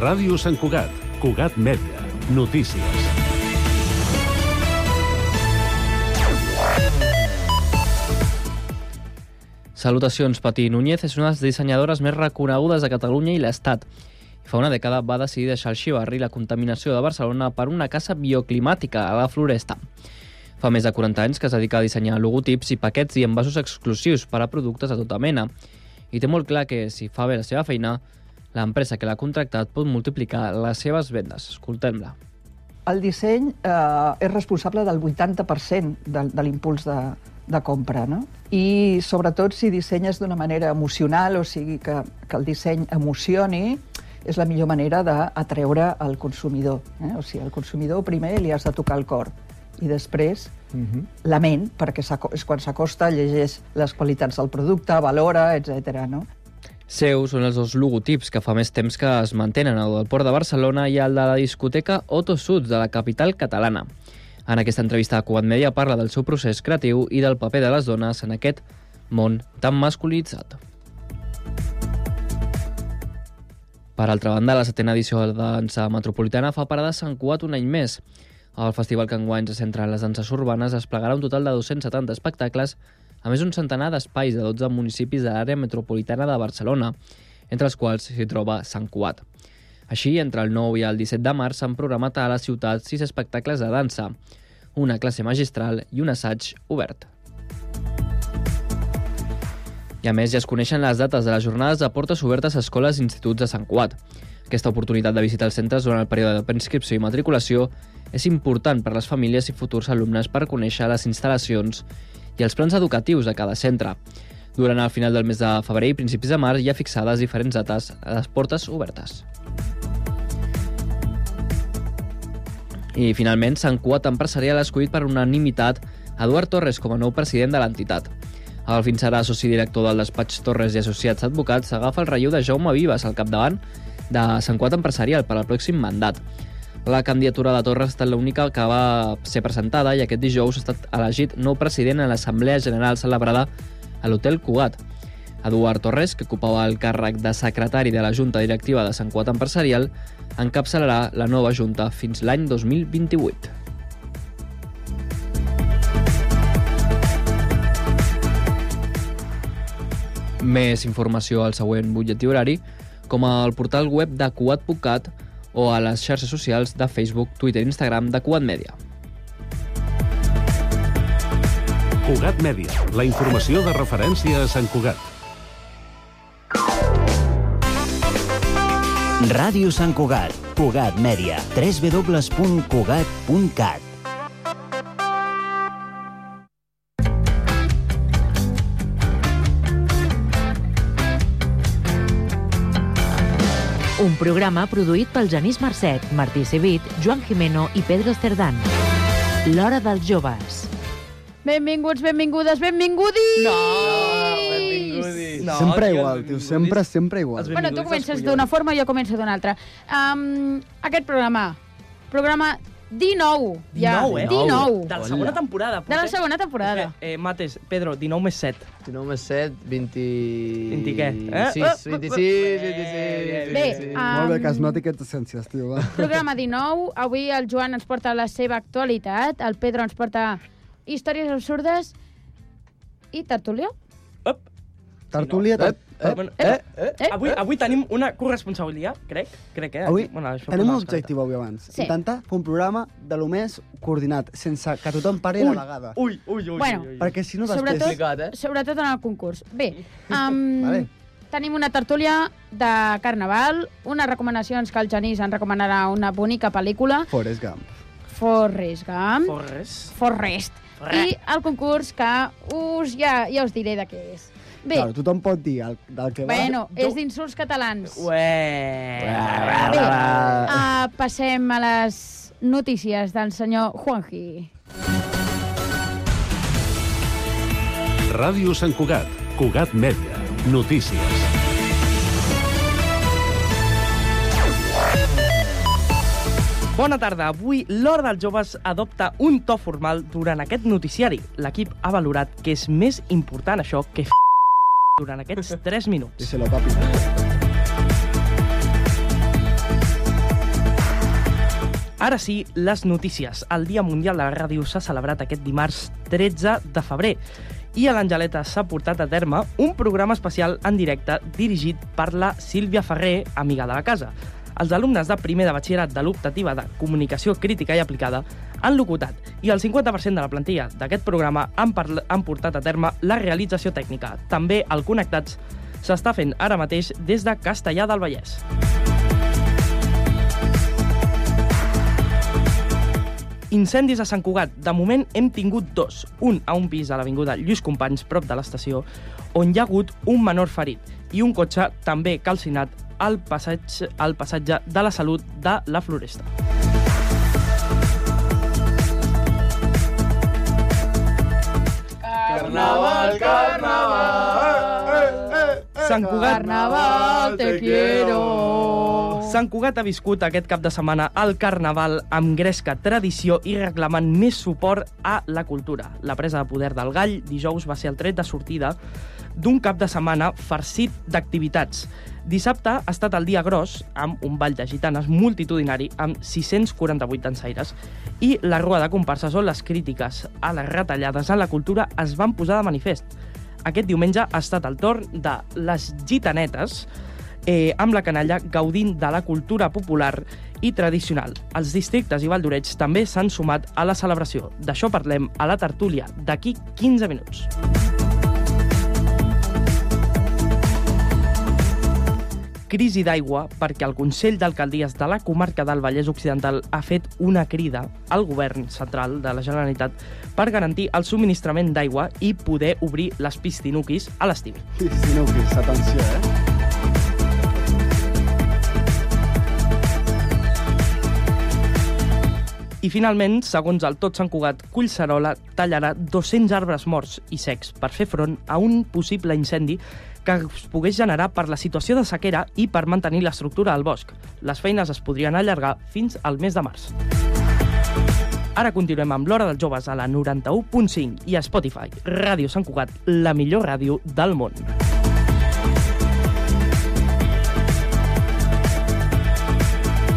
Ràdio Sant Cugat, Cugat Mèdia, notícies. Salutacions, Patí Núñez és una de les dissenyadores més reconegudes de Catalunya i l'Estat. Fa una dècada va decidir deixar al xivarri la contaminació de Barcelona per una casa bioclimàtica a la floresta. Fa més de 40 anys que es dedica a dissenyar logotips i paquets i envasos exclusius per a productes de tota mena. I té molt clar que, si fa bé la seva feina, l'empresa que l'ha contractat pot multiplicar les seves vendes. Escoltem-la. El disseny eh, és responsable del 80% de, de l'impuls de, de compra, no? I sobretot si dissenyes d'una manera emocional, o sigui que, que el disseny emocioni, és la millor manera d'atreure el consumidor. Eh? O sigui, el consumidor primer li has de tocar el cor i després uh -huh. la ment, perquè és quan s'acosta, llegeix les qualitats del producte, valora, etc. no? Seus són els dos logotips que fa més temps que es mantenen, el del Port de Barcelona i el de la discoteca Otto Sud, de la capital catalana. En aquesta entrevista a Cugat Media parla del seu procés creatiu i del paper de les dones en aquest món tan masculinitzat. Per altra banda, la setena edició de dansa metropolitana fa parada a Sant Cugat un any més. El festival que enguany se centra en les danses urbanes desplegarà un total de 270 espectacles a més un centenar d'espais de 12 municipis de l'àrea metropolitana de Barcelona, entre els quals s'hi troba Sant Cugat. Així, entre el 9 i el 17 de març s'han programat a la ciutat sis espectacles de dansa, una classe magistral i un assaig obert. I a més, ja es coneixen les dates de les jornades de portes obertes a escoles i instituts de Sant Cugat. Aquesta oportunitat de visitar els centres durant el període de preinscripció i matriculació és important per a les famílies i futurs alumnes per conèixer les instal·lacions i els plans educatius de cada centre. Durant el final del mes de febrer i principis de març hi ha fixades diferents dates a les portes obertes. I finalment, Sant Cuat Empresarial ha escollit per unanimitat Eduard Torres com a nou president de l'entitat. El fins ara soci director del despatx Torres i Associats Advocats agafa el relleu de Jaume Vives al capdavant de Sant Cuat Empresarial per al pròxim mandat. La candidatura de Torres ha estat l'única que va ser presentada i aquest dijous ha estat elegit nou president a l'Assemblea General celebrada a l'Hotel Cugat. Eduard Torres, que ocupava el càrrec de secretari de la Junta Directiva de Sant Cuat Empresarial, encapçalarà la nova Junta fins l'any 2028. Més informació al següent butlletí horari, com al portal web de cuat.cat, o a les xarxes socials de Facebook, Twitter i Instagram de Cugat Mèdia. Cugat Mèdia, la informació de referència a Sant Cugat. Ràdio Sant Cugat, Cugat Mèdia, www.cugat.cat. Un programa produït pel Genís Marcet, Martí Civit, Joan Jimeno i Pedro Cerdán. L'hora dels joves. Benvinguts, benvingudes, benvingudis! No, sempre igual, tio, sempre, sempre igual. Bueno, tu comences d'una forma i jo començo d'una altra. Um, aquest programa, programa 19, ja. 19, eh? 19. De la segona temporada. De la segona temporada. Eh, Mates, Pedro, 19 més 7. 19 més 7, 20... 20 què? Eh? 26, 26, 26... Bé, Molt bé, em, que es noti que ets essències, tio, va. Programa 19, avui el Joan ens porta la seva actualitat, el Pedro ens porta històries absurdes i Tertulió. Op. Tertúlia, Eh, tar... eh, bueno, eh, eh, eh, avui, avui tenim una corresponsabilitat, crec. crec eh? Avui bueno, això tenim no un es canta. objectiu avui abans. Sí. Intentar fer un programa de lo més coordinat, sense que tothom pari a la vegada. Ui, ui, ui. Bueno, ui, ui. Perquè si no després... Sobretot, eh? sobretot en el concurs. Bé, um, Vale. tenim una tertúlia de Carnaval, unes recomanacions que el Genís ens recomanarà una bonica pel·lícula, Forrest Gump. Forrest Gump, Forres. Forrest, i el concurs que us ja, ja us diré de què és. Bé, Claro, tothom pot dir el, del que bueno, és d'insults catalans. Ué. Bé, uh, passem a les notícies del senyor Juanji. Ràdio Sant Cugat, Cugat Mèdia, notícies. Bona tarda. Avui l'Hora dels Joves adopta un to formal durant aquest noticiari. L'equip ha valorat que és més important això que f durant aquests 3 va... minuts. Díselo, papi. Ara sí, les notícies. El Dia Mundial de la Ràdio s'ha celebrat aquest dimarts 13 de febrer i a l'Angeleta s'ha portat a terme un programa especial en directe dirigit per la Sílvia Ferrer, amiga de la casa. Els alumnes de primer de batxillerat de l'optativa de Comunicació Crítica i Aplicada han locutat i el 50% de la plantilla d'aquest programa han, parla- han portat a terme la realització tècnica. També el Connectats s'està fent ara mateix des de Castellà del Vallès. Incendis a Sant Cugat. De moment hem tingut dos. Un a un pis a l'Avinguda Lluís Companys, prop de l'estació, on hi ha hagut un menor ferit i un cotxe també calcinat al passeig, al passatge de la Salut de la Floresta. Carnaval, carnaval. Sant Cugat, Eh, Carnaval, te quiero. Sant Cugat ha viscut aquest cap de setmana el Carnaval amb gresca tradició i reclamant més suport a la cultura. La presa de poder del Gall dijous va ser el tret de sortida d'un cap de setmana farcit d'activitats. Dissabte ha estat el dia gros, amb un ball de gitanes multitudinari amb 648 dansaires, i la rua de comparses on les crítiques a les retallades en la cultura es van posar de manifest. Aquest diumenge ha estat el torn de les gitanetes, eh, amb la canalla gaudint de la cultura popular i tradicional. Els districtes i valdoreig també s'han sumat a la celebració. D'això parlem a la tertúlia d'aquí 15 minuts. crisi d'aigua perquè el Consell d'Alcaldies de la comarca del Vallès Occidental ha fet una crida al govern central de la Generalitat per garantir el subministrament d'aigua i poder obrir les piscinuquis a l'estiu. Sí, sí, no, que és atenció, eh? I finalment, segons el Tot Sant Cugat, Collserola tallarà 200 arbres morts i secs per fer front a un possible incendi que es pogués generar per la situació de sequera i per mantenir l'estructura del bosc. Les feines es podrien allargar fins al mes de març. Ara continuem amb l'Hora dels Joves a la 91.5 i a Spotify, Ràdio Sant Cugat, la millor ràdio del món.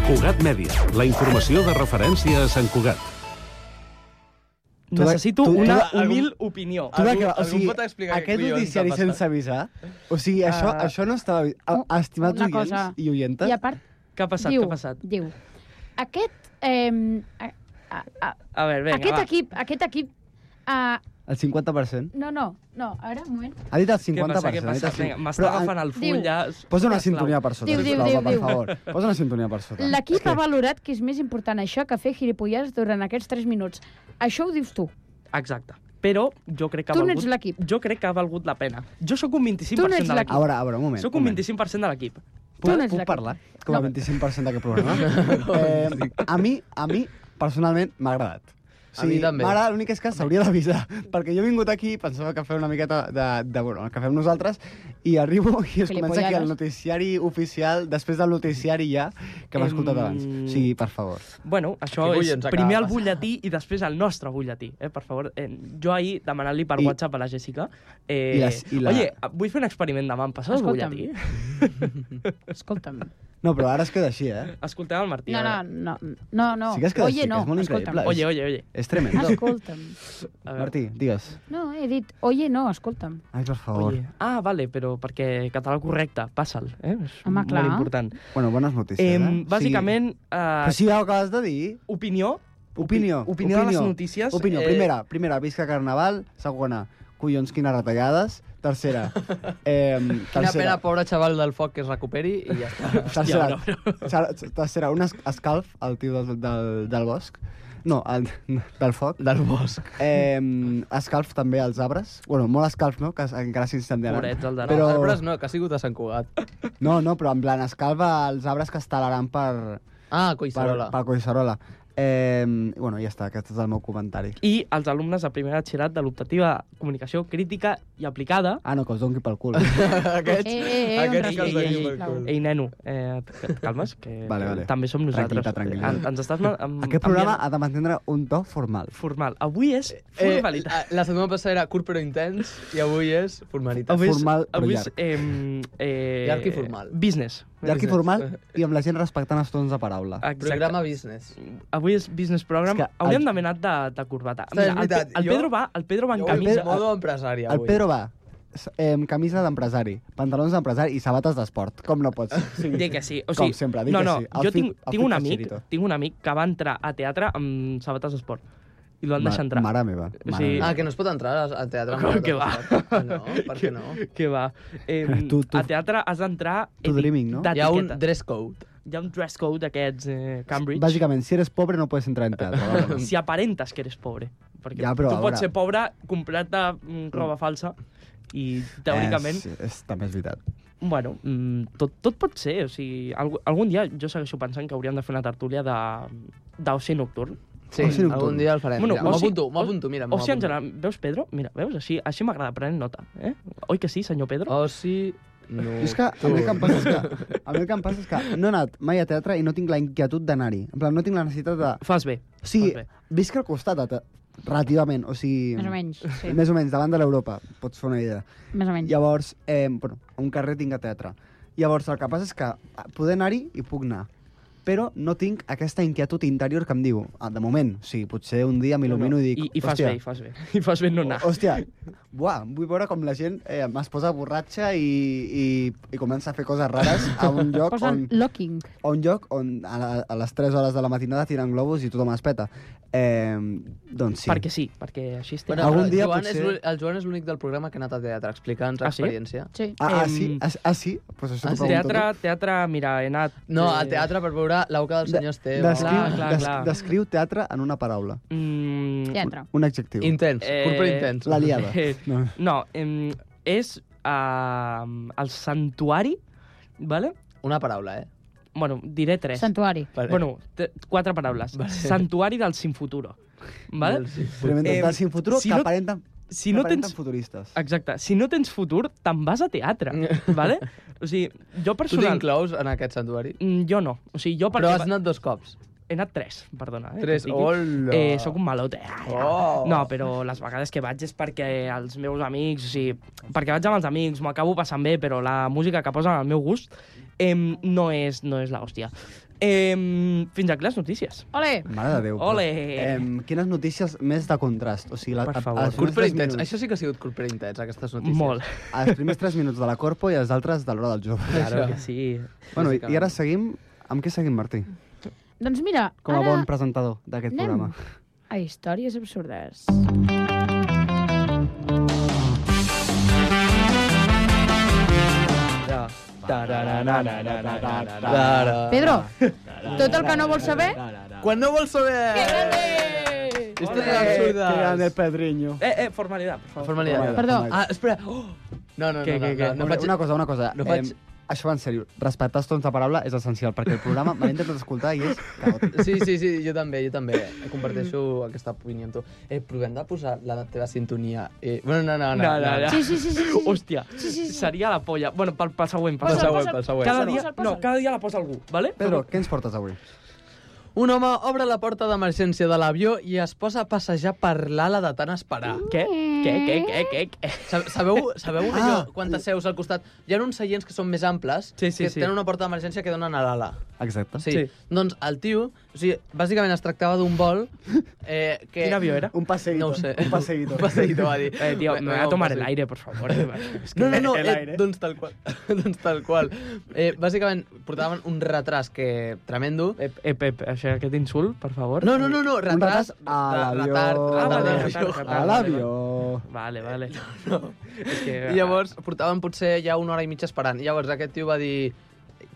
Cugat Mèdia, la informació de referència a Sant Cugat. de- Necessito tu de- una algun- humil opinió. Tu de què va? algú O sigui, pot explicar què aquest collons ha noticiari passat? sense avisar? O sigui, això, Ah. això no estava... avi- Ah, Estimats Una oients cosa. i oientes, I a part, Què ha passat? diu, Què ha passat? diu, aquest, eh, a, a, a, A veure, vinga, aquest va. equip, aquest equip, uh, el 50%. no, no, no, a veure, un moment. Ha dit el 50%. Què passa? Què ha dit passa? el Vinga, 50. M'està Però, agafant el full Diu. ja. Posa una Sisplau. sintonia per sota, Diu, diu, sisplau, diu, va, per diu. favor. Posa una sintonia per sota. L'equip ha valorat que és més important això que fer gilipolles durant aquests 3 minuts. Això ho dius tu. Exacte. Però jo crec que ha Tu no valgut... ets l'equip. Jo crec que ha valgut la pena. Jo sóc un 25% Tu no ets de A l'equip. veure, a veure, un moment. Sóc un un moment. 25% de l'equip. Tu Puc, no ets puc l'equip. parlar? Com a No. 25% d'aquest programa? eh, a, mi, a mi, personalment, m'ha agradat. A mi també. M'agrada, l'únic és que s'hauria d'avisar, perquè jo he vingut aquí i pensava que fer una miqueta de, de bueno, el que fem nosaltres, i arribo i es comença aquí el Gilipollades. noticiari oficial, després del noticiari ja, que m'ha escoltat Em- abans. O sigui, per favor. Bueno, això Què és collons acaba primer el passant? butlletí i després el nostre butlletí. Eh? Per favor, eh, jo ahir demanant-li per I- WhatsApp a la Jessica... Eh, I les- i la- Oye, vull fer un experiment demà, em passes el Escolta'm. butlletí? Escolta'm. No, però ara es queda així, eh? Escoltem el Martí. No, a no, veure. no, no, no. Sí que has quedat Oye, així, que no, és molt escolta'm. increïble. Oye, oye, oye. És tremendo. Escolta'm. A veure. Ah, Martí, digues. No, he dit, oye, no, escolta'm. Ai, per favor. Oye. Ah, vale, però perquè català correcte, passa'l. Eh? És Home, clar. molt important. Bueno, bones notícies, eh? Eh, O sigui- bàsicament, eh, Però si ja ho acabes de dir... opinió... Opinió. Opi- opinió de les notícies, Opinió. eh, Primera, primera, visca Carnaval. Segona, collons, quines retallades. Tercera, eh, Quina pena, tercera, pobre xaval del foc, que es recuperi i ja està. tercera, ter- tercera, un es- escalf al tio del, del, del bosc. No, el, del foc. Del bosc. Eh, escalf també als arbres. bueno, molt escalf, no? Que es- encara s'incendiaran. Pobrets, el de Però... Però- Arbres no, que ha sigut a Sant Cugat. No, no, però en plan escalfa els arbres que es talaran per, Ah, per, Coixarola. per Collserola. Eh, i bueno, ja està, aquest és el meu comentari. i els alumnes de primer batxillerat de l'optativa Comunicació Crítica i Aplicada. Ah, no, que us doni pel cul. Aquests, Eh, eh, eh, un aquests que els respecte, tenim sisplau. al cul. Ei, neno, eh, et calmes, que Vale, vale. també som nosaltres. Tranquil·litat, tranquil·litat. En- Ens estàs ma- em- Aquest programa enviant ha de mantenir un to formal. formal. Avui és Eh, formalitat. la- la setmana passada era curt però intens i avui és formalitat. avui és, formal però avui és llarg. eh, eh, Llarg i formal. business. llarg i formal i amb la gent respectant els tons de paraula. Exacte. Programa business. Avui és Business Program. És que el- Hauríem d'haver anat de, de corbata. Ostres, és el, Pe- veritat, el, jo- Pedro va, el Pedro va en Jo camisa. camisa... modo empresari, El avui. Pedro va s- eh, amb camisa d'empresari, pantalons d'empresari i sabates d'esport. Com no pots? Sí. Dir que sí. O Com sigui, sempre, di no, que no, sí. Jo Outfit- tinc, outfit tinc, un de amic, Chirito. tinc un amic que va entrar a teatre amb sabates d'esport i l'han deixat entrar. Mare meva. Mare sigui, meva. Ah, que no es pot entrar al- al teatre. amb Com sabates que va? d'esport? No, per què no? Que va. Eh, Tu- tu- a teatre has d'entrar Tu eti- dreaming, no? d'etiqueta. Hi ha un dress code. Hi ha un dress code d'aquests eh, Cambridge. Bàsicament, si eres pobre no pots entrar en teatre. vaja. Si aparentes que eres pobre. Perquè Ja, però tu a veure- pots ser pobre, comprar-te mm, roba falsa i Eh, teòricament És, és, també és veritat. Bueno, mm, tot, tot pot ser. O sigui, alg algun dia jo segueixo pensant que hauríem de fer una tertúlia de- d'oci nocturn. Sí, Oci nocturn. algun dia el farem. Bueno, Bueno, mira, oci- m'apunto, m'apunto, mira. Oci en m'apunto. general. Veus, Pedro? Mira, veus? Així, així m'agrada, prenent nota. Eh? Oi que sí, senyor Pedro? Oci... No. Jo és que a mi el que em passa és que, a mi el que, em passa és que no he anat mai a teatre i no tinc la inquietud d'anar-hi. En plan, no tinc la necessitat de... Fas bé. O sigui, Molt visc al costat, a te... relativament, o sigui... Més o menys, sí. Més o menys, davant de l'Europa, pots fer una idea. Més o menys. Llavors, eh, bueno, a un carrer tinc a teatre. Llavors, el que passa és que ah, poder anar-hi i puc anar, però no tinc aquesta inquietud interior que em diu, ah, de moment, o sigui, potser un dia m'il·lumino i dic... I, I fas "Hòstia, bé, i fas bé. I fas bé no anar. Hòstia, buah, vull veure com la gent eh, es posa borratxa i, i, i comença a fer coses rares a un lloc on, Posen locking. a un lloc on a, la- a les 3 hores de la matinada tiren globus i tothom es peta. Eh, doncs sí. Perquè sí, perquè així estem. Bueno, Bueno, Algun el dia Joan potser- És l'ú- el Joan és l'únic del programa que ha anat a teatre, explicant Ah, ah, sí? experiència. Sí. Ah, ah, Em- sí? Ah, ah sí? Pues això Ah, t'ho sí? pregunto teatre, teatre, mira, he anat... eh, No, al teatre per veure l'auca del senyor Esteve. Descriu, Clar, clar, clar. descriu teatre en una paraula. Mm, Teatre. Un adjectiu. Intens, eh... Eh, culpa intens. La liada. Eh, No. No, em, és uh, el santuari, vale? Una paraula, eh? Bueno, diré tres. Santuari. Vale. Bueno, te- quatre paraules. Vale. Santuari del sin futuro. Vale? Del sí. Tremendo. Eh, Del sin futuro si que no- aparenten, Si que no aparenten tens... futuristes. Exacte. Si no tens futur, te'n vas a teatre. vale? O sigui, jo Tu personal... t'inclous en aquest santuari? Mm, jo no. O sigui, jo Però perquè... has anat dos cops. He anat tres, perdona. Eh, que Tres. et digui. Hola. Eh, soc un malote. Ai, Oh. No, però les vegades que vaig és perquè els meus amics, o sigui, perquè vaig amb els amics, m'ho acabo passant bé, però la música que posen al meu gust eh, no és, no és l'hòstia. Eh, fins aquí les notícies. Ole! Mare de Déu. però, eh, Ole! em, quines notícies més de contrast? O sigui, la, Per a- a- favor. els primers Culpa tres intens. minuts- Això sí que ha sigut culpa intens, aquestes notícies. Molt. Els primers 3 minuts de la Corpo i els altres de l'hora del jove. Claro que sí. Bueno, i, i ara seguim... Amb què seguim, Martí? Doncs mira, Com a ara bon presentador d'aquest anem programa. Eh, a històries absurdes. Ja. Ara. Pedro, tot el que no vols saber... Quan no vols saber... Històries absurdes. Pedrinho. Eh, eh, formalitat, per favor. Formalitat. Perdó. Ah, espera. Oh! No, no, Què, no, què, no, què? no, no, una, faig... una cosa, una cosa. no No faig- faig... això va en sèrio. Respectar els tons de paraula és essencial, perquè el programa me l'he intentat escoltar i és caòtic. Sí, sí, sí, jo també, jo també. Comparteixo aquesta opinió amb tu. Eh, provem de posar la teva sintonia. Eh, bueno, no, no, no. No, no, no. Sí, sí, sí, sí. sí. Hòstia, sí, sí, sí. seria la polla. Bueno, pel, pel següent, pel Pel següent. següent, pel següent. Cada dia, Posa'l, posa'l. no, cada dia la posa algú, vale? Pedro, què ens portes avui? Un home obre la porta d'emergència de l'avió i es posa a passejar per l'ala de tant esperar. Què? Què, què, què, què, què? Sa- Sabeu, sabeu ah, Ah. allò, quan t'asseus al costat? Hi ha uns seients que són més amples, Sí, sí, que sí. tenen una porta d'emergència que donen a l'ala. Exacte. Sí. sí. Sí. Doncs el tio, o sigui, bàsicament es tractava d'un vol... Eh, que... Quin avió era? Un passeguito. No ho sé. Un passeguito. un passeguito, va dir. Eh, tío, me voy a un tomar el passeguito. aire, por favor. Es que No, no, no, el eh, aire. doncs tal qual. doncs tal qual. Eh, bàsicament, portaven un retras que... tremendo. Ep, ep, ep, això, eh, aquest insult, per favor. No, no, no, no, retras... retras a re- l'avió. Retard, Ah, retard, vale, de l'avió. retard, retard. A l'avió. Vale, vale. No, no. És que, Eh, I llavors portaven potser ja una hora i mitja esperant. I llavors aquest tio va dir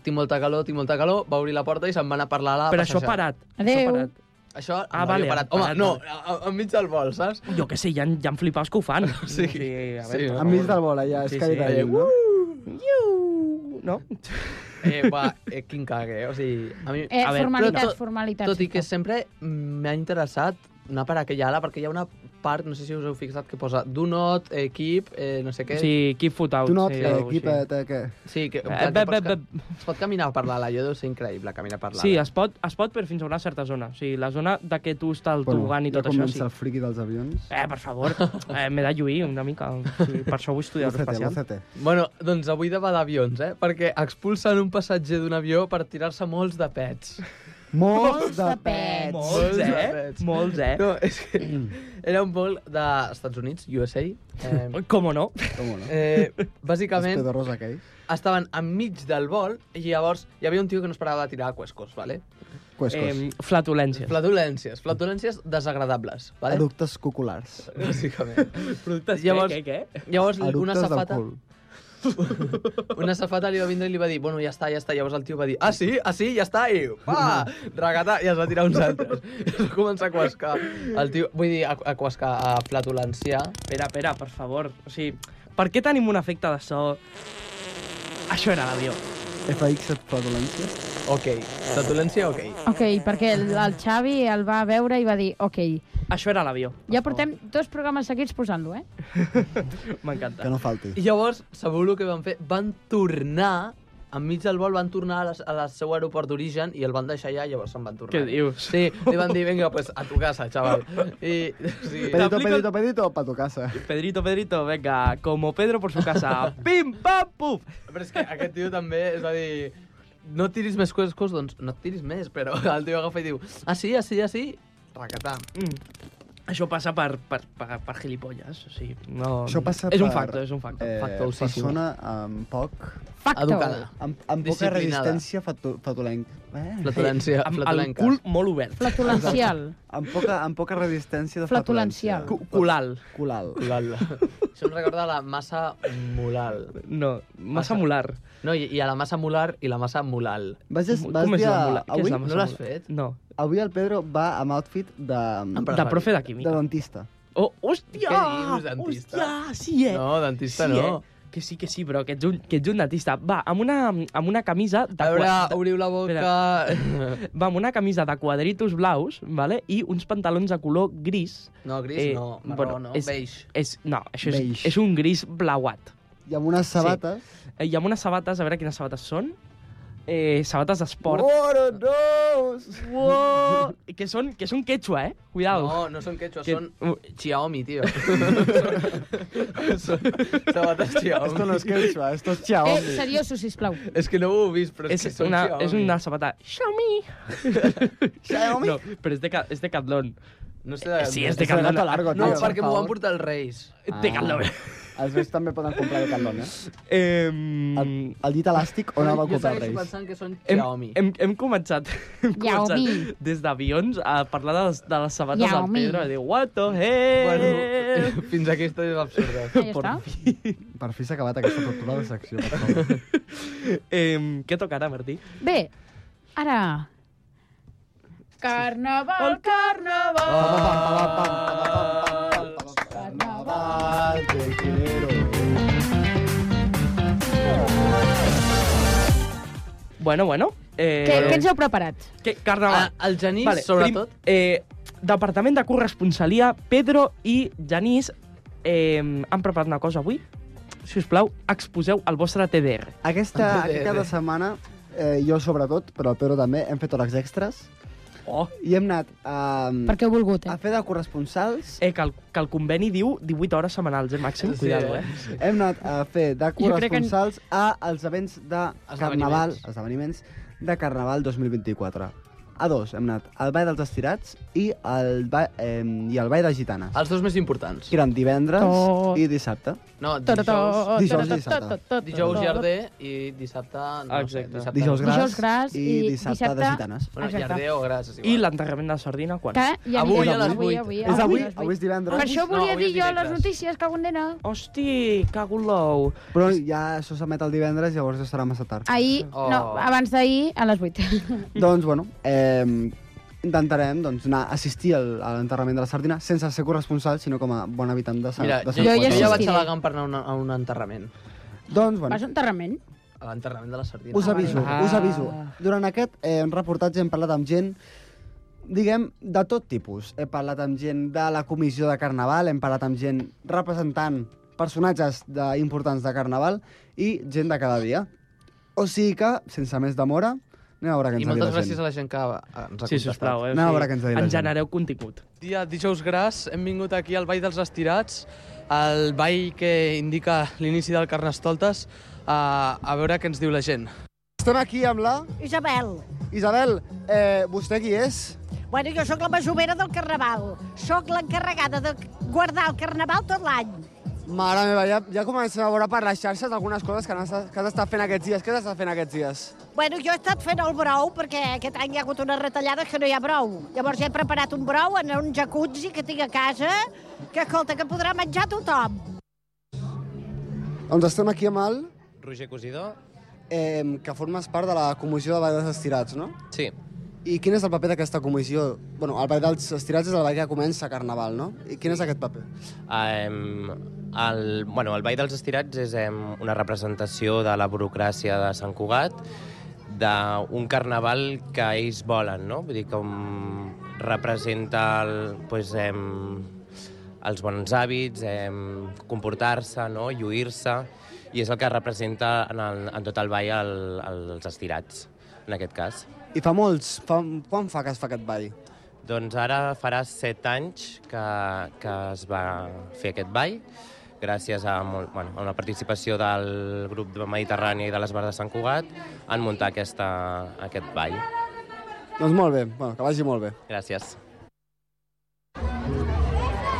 tinc molta calor, tinc molta calor, va obrir la porta i se'n va anar a parlar a la Però això parat. Adeu. Això parat. Això, Ah, ah, vale, vale, parat. parat, Home, vale. no, a- a- enmig del vol, saps? Jo què sé, hi ha, hi ha flipaus que ho fan. Sí, sí, a sí, veure, per Enmig favor. del vol, allà, Sí, és sí. que Eh, no? Iu! No? Eh, va, eh, quin cague, eh? o sigui... A mi, Eh, A veure, formalitat, però tot- formalitat. tot i que sisplau. sempre m'ha interessat anar per aquella ala, perquè hi ha una parc, no sé si us heu fixat, que posa do not, equip, eh, no sé què... Sí, keep foot out. Tu no, sí, sí, alguna cosa equip, així. eh, què? Sí, que, en Eh, plan, bé, que pots, bé, ca- bé. es pot caminar per l'ala, jo deu ser increïble caminar per l'ala. Sí, es pot, es pot, però fins a una certa zona. O sigui, la zona de què tu està el tobogán i tot ja això, comença sí. el friqui dels avions. Eh, per favor, eh, m'he de lluir una mica. O sigui, per això vull estudiar L'OCT, aeroespacial. l'OCT. Bueno, doncs avui de va d'avions, eh? Perquè expulsen un passatger d'un avió per tirar-se molts de pets. Molts de pets. Molts Molts, eh? pets. Molts, eh? No, és que era un vol d'Estats Units, USA. Eh, Com no? Com no? eh, Els bàsicament, pedorros aquells. estaven enmig del vol i llavors hi havia un tio que no esperava de tirar cuescos, ¿vale? Cuescos. Eh, flatulències. Flatulències, flatulències desagradables, ¿vale? Productes coculars. Bàsicament. Productes, Llavors- què, què, què? Llavors, una Productes del safata, cul. una safata li va vindre i li va dir, bueno, ja està, ja està. Llavors el tio va dir, ah, sí? Ah, sí? Ja està? I, pa! Regata! I es va tirar uns altres. I es va començar a cuescar. El tio, vull dir, a, a cuescar, a flatulenciar. Espera, espera, per favor. O sigui, per què tenim un efecte de so? Això era l'avió. FX et flatulències. Ok. Flatulència, ok. Ok, perquè el, el Xavi el va veure i va dir, ok, Això era l'avió. per ja favor. portem dos programes seguits posant-lo, eh? M'encanta. Que no falti. I llavors, sabeu el que van fer? Van tornar, enmig del vol, van tornar a, les, a la seu aeroport d'origen i el van deixar allà i llavors se'n van tornar. Què dius? Sí, li van dir, vinga, pues, a tu casa, xaval. I, sí. Pedito, T'aplica- pedito, pedito, pa tu casa. Pedrito, Pedrito, venga, como Pedro por su casa. Pim, pam, puf! Però és que aquest tio també, és a dir, no tiris més coscos, doncs no et tiris més, però el tio agafa i diu, ah sí, ah sí, ah sí, racatà. Mm. Això passa per, per, per, per gilipolles. O sigui, no... Això passa és un per, factor, és un factor. Eh, Factor obsessiu. persona amb poc... Facto. Educada. Amb, amb poca Disciplinada. resistència fatu, fatulenc. Eh? Flatulència, amb el flatulenca. cul molt obert. Flatulencial. Amb poca, amb poca resistència de Flatulencial. flatulència. Cu- Culal. Culal. Lala. Això em recorda la massa molal. No, massa Passa. molar. No, i, i a la massa molar i la massa molal. Vas, Com vas és dir, la molar? Què és avui, la massa no l'has molar? fet? No. avui el Pedro va amb outfit de, Amb De Preferi. profe de de química. dentista. Oh, hòstia! Què dius, dentista? Hòstia, sí, eh? No, dentista sí, no. Eh? Que sí, que sí, però que ets un, que ets un dentista. Va, amb una, amb una camisa... De A veure, qua- de- obriu la boca... Va, amb una camisa de quadritos blaus, vale? i uns pantalons de color gris. No, gris Eh, no, marró bueno, no, és- beige. És, no, això és, Beige. és un gris blauat. I amb unes sabates... Eh, I amb unes sabates, a veure quines sabates són. Eh, sabates d'esport. What a dose! Uoh! Que són, que són quechua, eh? Cuidao. No, no són quechua, que... són Xiaomi, tio. Són- Sabates Xiaomi. Esto no es quechua, esto es Eh, Xiaomi. seriosos, sisplau. És que no ho heu vist, però és, És, que són una, Xiaomi. és una sabata Xiaomi. Xiaomi? No, però és de, ca- és de Catlon. No sé de... Sí, és de de Eh, Catlon. gato largo, eh. No, tio, perquè per m'ho van favor. portar els Reis. Ah. De Catlon. Els reis també poden comprar de Catlon, eh? Eh, El, el llit elàstic on el va comprar els reis? pensant que són hem, Xiaomi. hem, hem començat, hem Xiaomi. començat des d'avions a parlar de les, de les sabates del Xiaomi. Pedro. i Diu, what the hell? Bueno, fins aquí històries absurdes. Ah, ja està. Per fi s'ha acabat aquesta tortura de secció, per favor. Eh, què tocarà, Martí? Bé, ara... Carnaval, carnaval, Ah! Carnaval, te quiero. Bueno, bueno. Eh, què, què ens heu preparat? que, carnaval. Ah, el Genís, sobretot. Prim, eh, Departament de Corresponsalia, Pedro i Janís eh, han preparat una cosa avui. Si us plau, exposeu el vostre TDR. Aquesta, aquest cap de setmana, eh, jo sobretot, però el Pedro també, hem fet hores extres Oh, i hem anat a, Perquè heu volgut, a eh? fer de corresponsals eh, que, el, que el conveni diu 18 hores setmanals, eh, màxim. Sí, Cuidado, eh? hem anat a fer de crec que en- corresponsals a els events de Carnaval, esdeveniments de Carnaval 2024. A dos hem anat al Ball dels Estirats i al Ball, eh, i al Ball de Gitanes. Els dos més importants. Que eren divendres Oh. i dissabte. No, Tot, dijous, tot, dijous tot, i dissabte. tot, tot, dijous tot. Jardé i dissabte... No Exacte. Sé, dissabte Dijous gras, Dijous gras i, i dissabte, de dissabte- Gitanes. Bueno, Exacte. Jardé o Gras, és igual. I l'enterrament de la sardina, quan? Que hi havia, Avui a les avui, vuit. avui, és avui, a les avui és divendres. Per això No, volia avui dir és jo a les dimecres. notícies, cago en nena. Hosti, cago en l'ou. Però ja això s'emet el divendres, llavors ja serà massa tard. Ahir, Oh. no, abans d'ahir, a les 8. Doncs, bueno, eh, intentarem doncs, anar a assistir al, a l'enterrament de la sardina sense ser corresponsal, sinó com a bon habitant de Sant, Mira, de jo, Sant jo, Jo Quentin. ja assistiré. vaig a Gant per anar a, una, a un enterrament. Doncs, bueno, Vas a enterrament? A Ah, l'enterrament de la sardina. us aviso, Ah. us aviso. Durant aquest eh, reportatge hem parlat amb gent diguem, de tot tipus. He parlat amb gent de la comissió de Carnaval, hem parlat amb gent representant personatges de, importants de Carnaval i gent de cada dia. O sigui que, sense més demora, anem a veure què ens I ha dit moltes la gent. gràcies a la gent que eh, ens ha Sí, contestat. sisplau, eh? Anem a veure què ens ha dit la Ens gent. genereu contingut. Dia dijous gras, hem vingut aquí al Vall dels Estirats, al ball que indica l'inici del Carnestoltes, a, a veure què ens diu la gent. Estem aquí amb la... Isabel. Isabel, eh, vostè qui és? Bueno, jo sóc la masovera del Carnaval. Sóc l'encarregada de guardar el Carnaval tot l'any. Mare meva, ja, ja comencem a veure per les xarxes algunes coses que, n'has- que has estat fent aquests dies. Què has estat fent aquests dies? Bueno, jo he estat fent el brou perquè aquest any hi ha hagut unes retallades que no hi ha brou. Llavors he preparat un brou en un jacuzzi que tinc a casa que, escolta, que podrà menjar tothom. Doncs estem aquí amb el... Roger Cosidó? Eh, que formes part de la comissió de Ball dels Estirats, no? Sí. I quin és el paper d'aquesta comissió? Bueno, el Ball dels Estirats és el ball que comença Carnaval, no? I quin és aquest paper? Um, el, bueno, el Ball dels Estirats és um, una representació de la burocràcia de Sant Cugat, d'un carnaval que ells volen, no? Vull dir, com representa el, pues, em, els bons hàbits, em, comportar-se, no? lluir-se, i és el que representa en, el, en tot el ball el, els estirats, en aquest cas. I fa molts... Fa, quan fa que es fa aquest ball? Doncs ara farà set anys que, que es va fer aquest ball, gràcies a, molt, bueno, a una participació del grup de Mediterrani i de les Bars de Sant Cugat en muntar aquesta, aquest ball. Doncs molt bé, bueno, que vagi molt bé. Gràcies.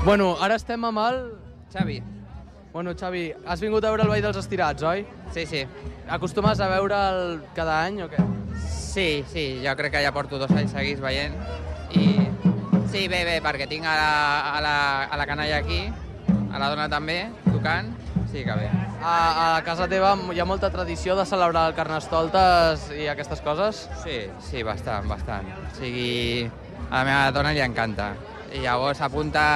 Bueno, ara estem amb el... Xavi. Bueno, Xavi, has vingut a veure el Ball dels Estirats, oi? Sí, sí. Acostumes a veure'l cada any o què? Sí, sí, jo crec que ja porto dos anys seguits veient i... Sí, bé, bé, perquè tinc a la, a la, a la canalla aquí, a la dona també, tocant, sí que bé. A, a casa teva hi ha molta tradició de celebrar el Carnestoltes i aquestes coses? Sí, sí, bastant, bastant. O sigui, a la meva dona li encanta. I llavors s'apunta...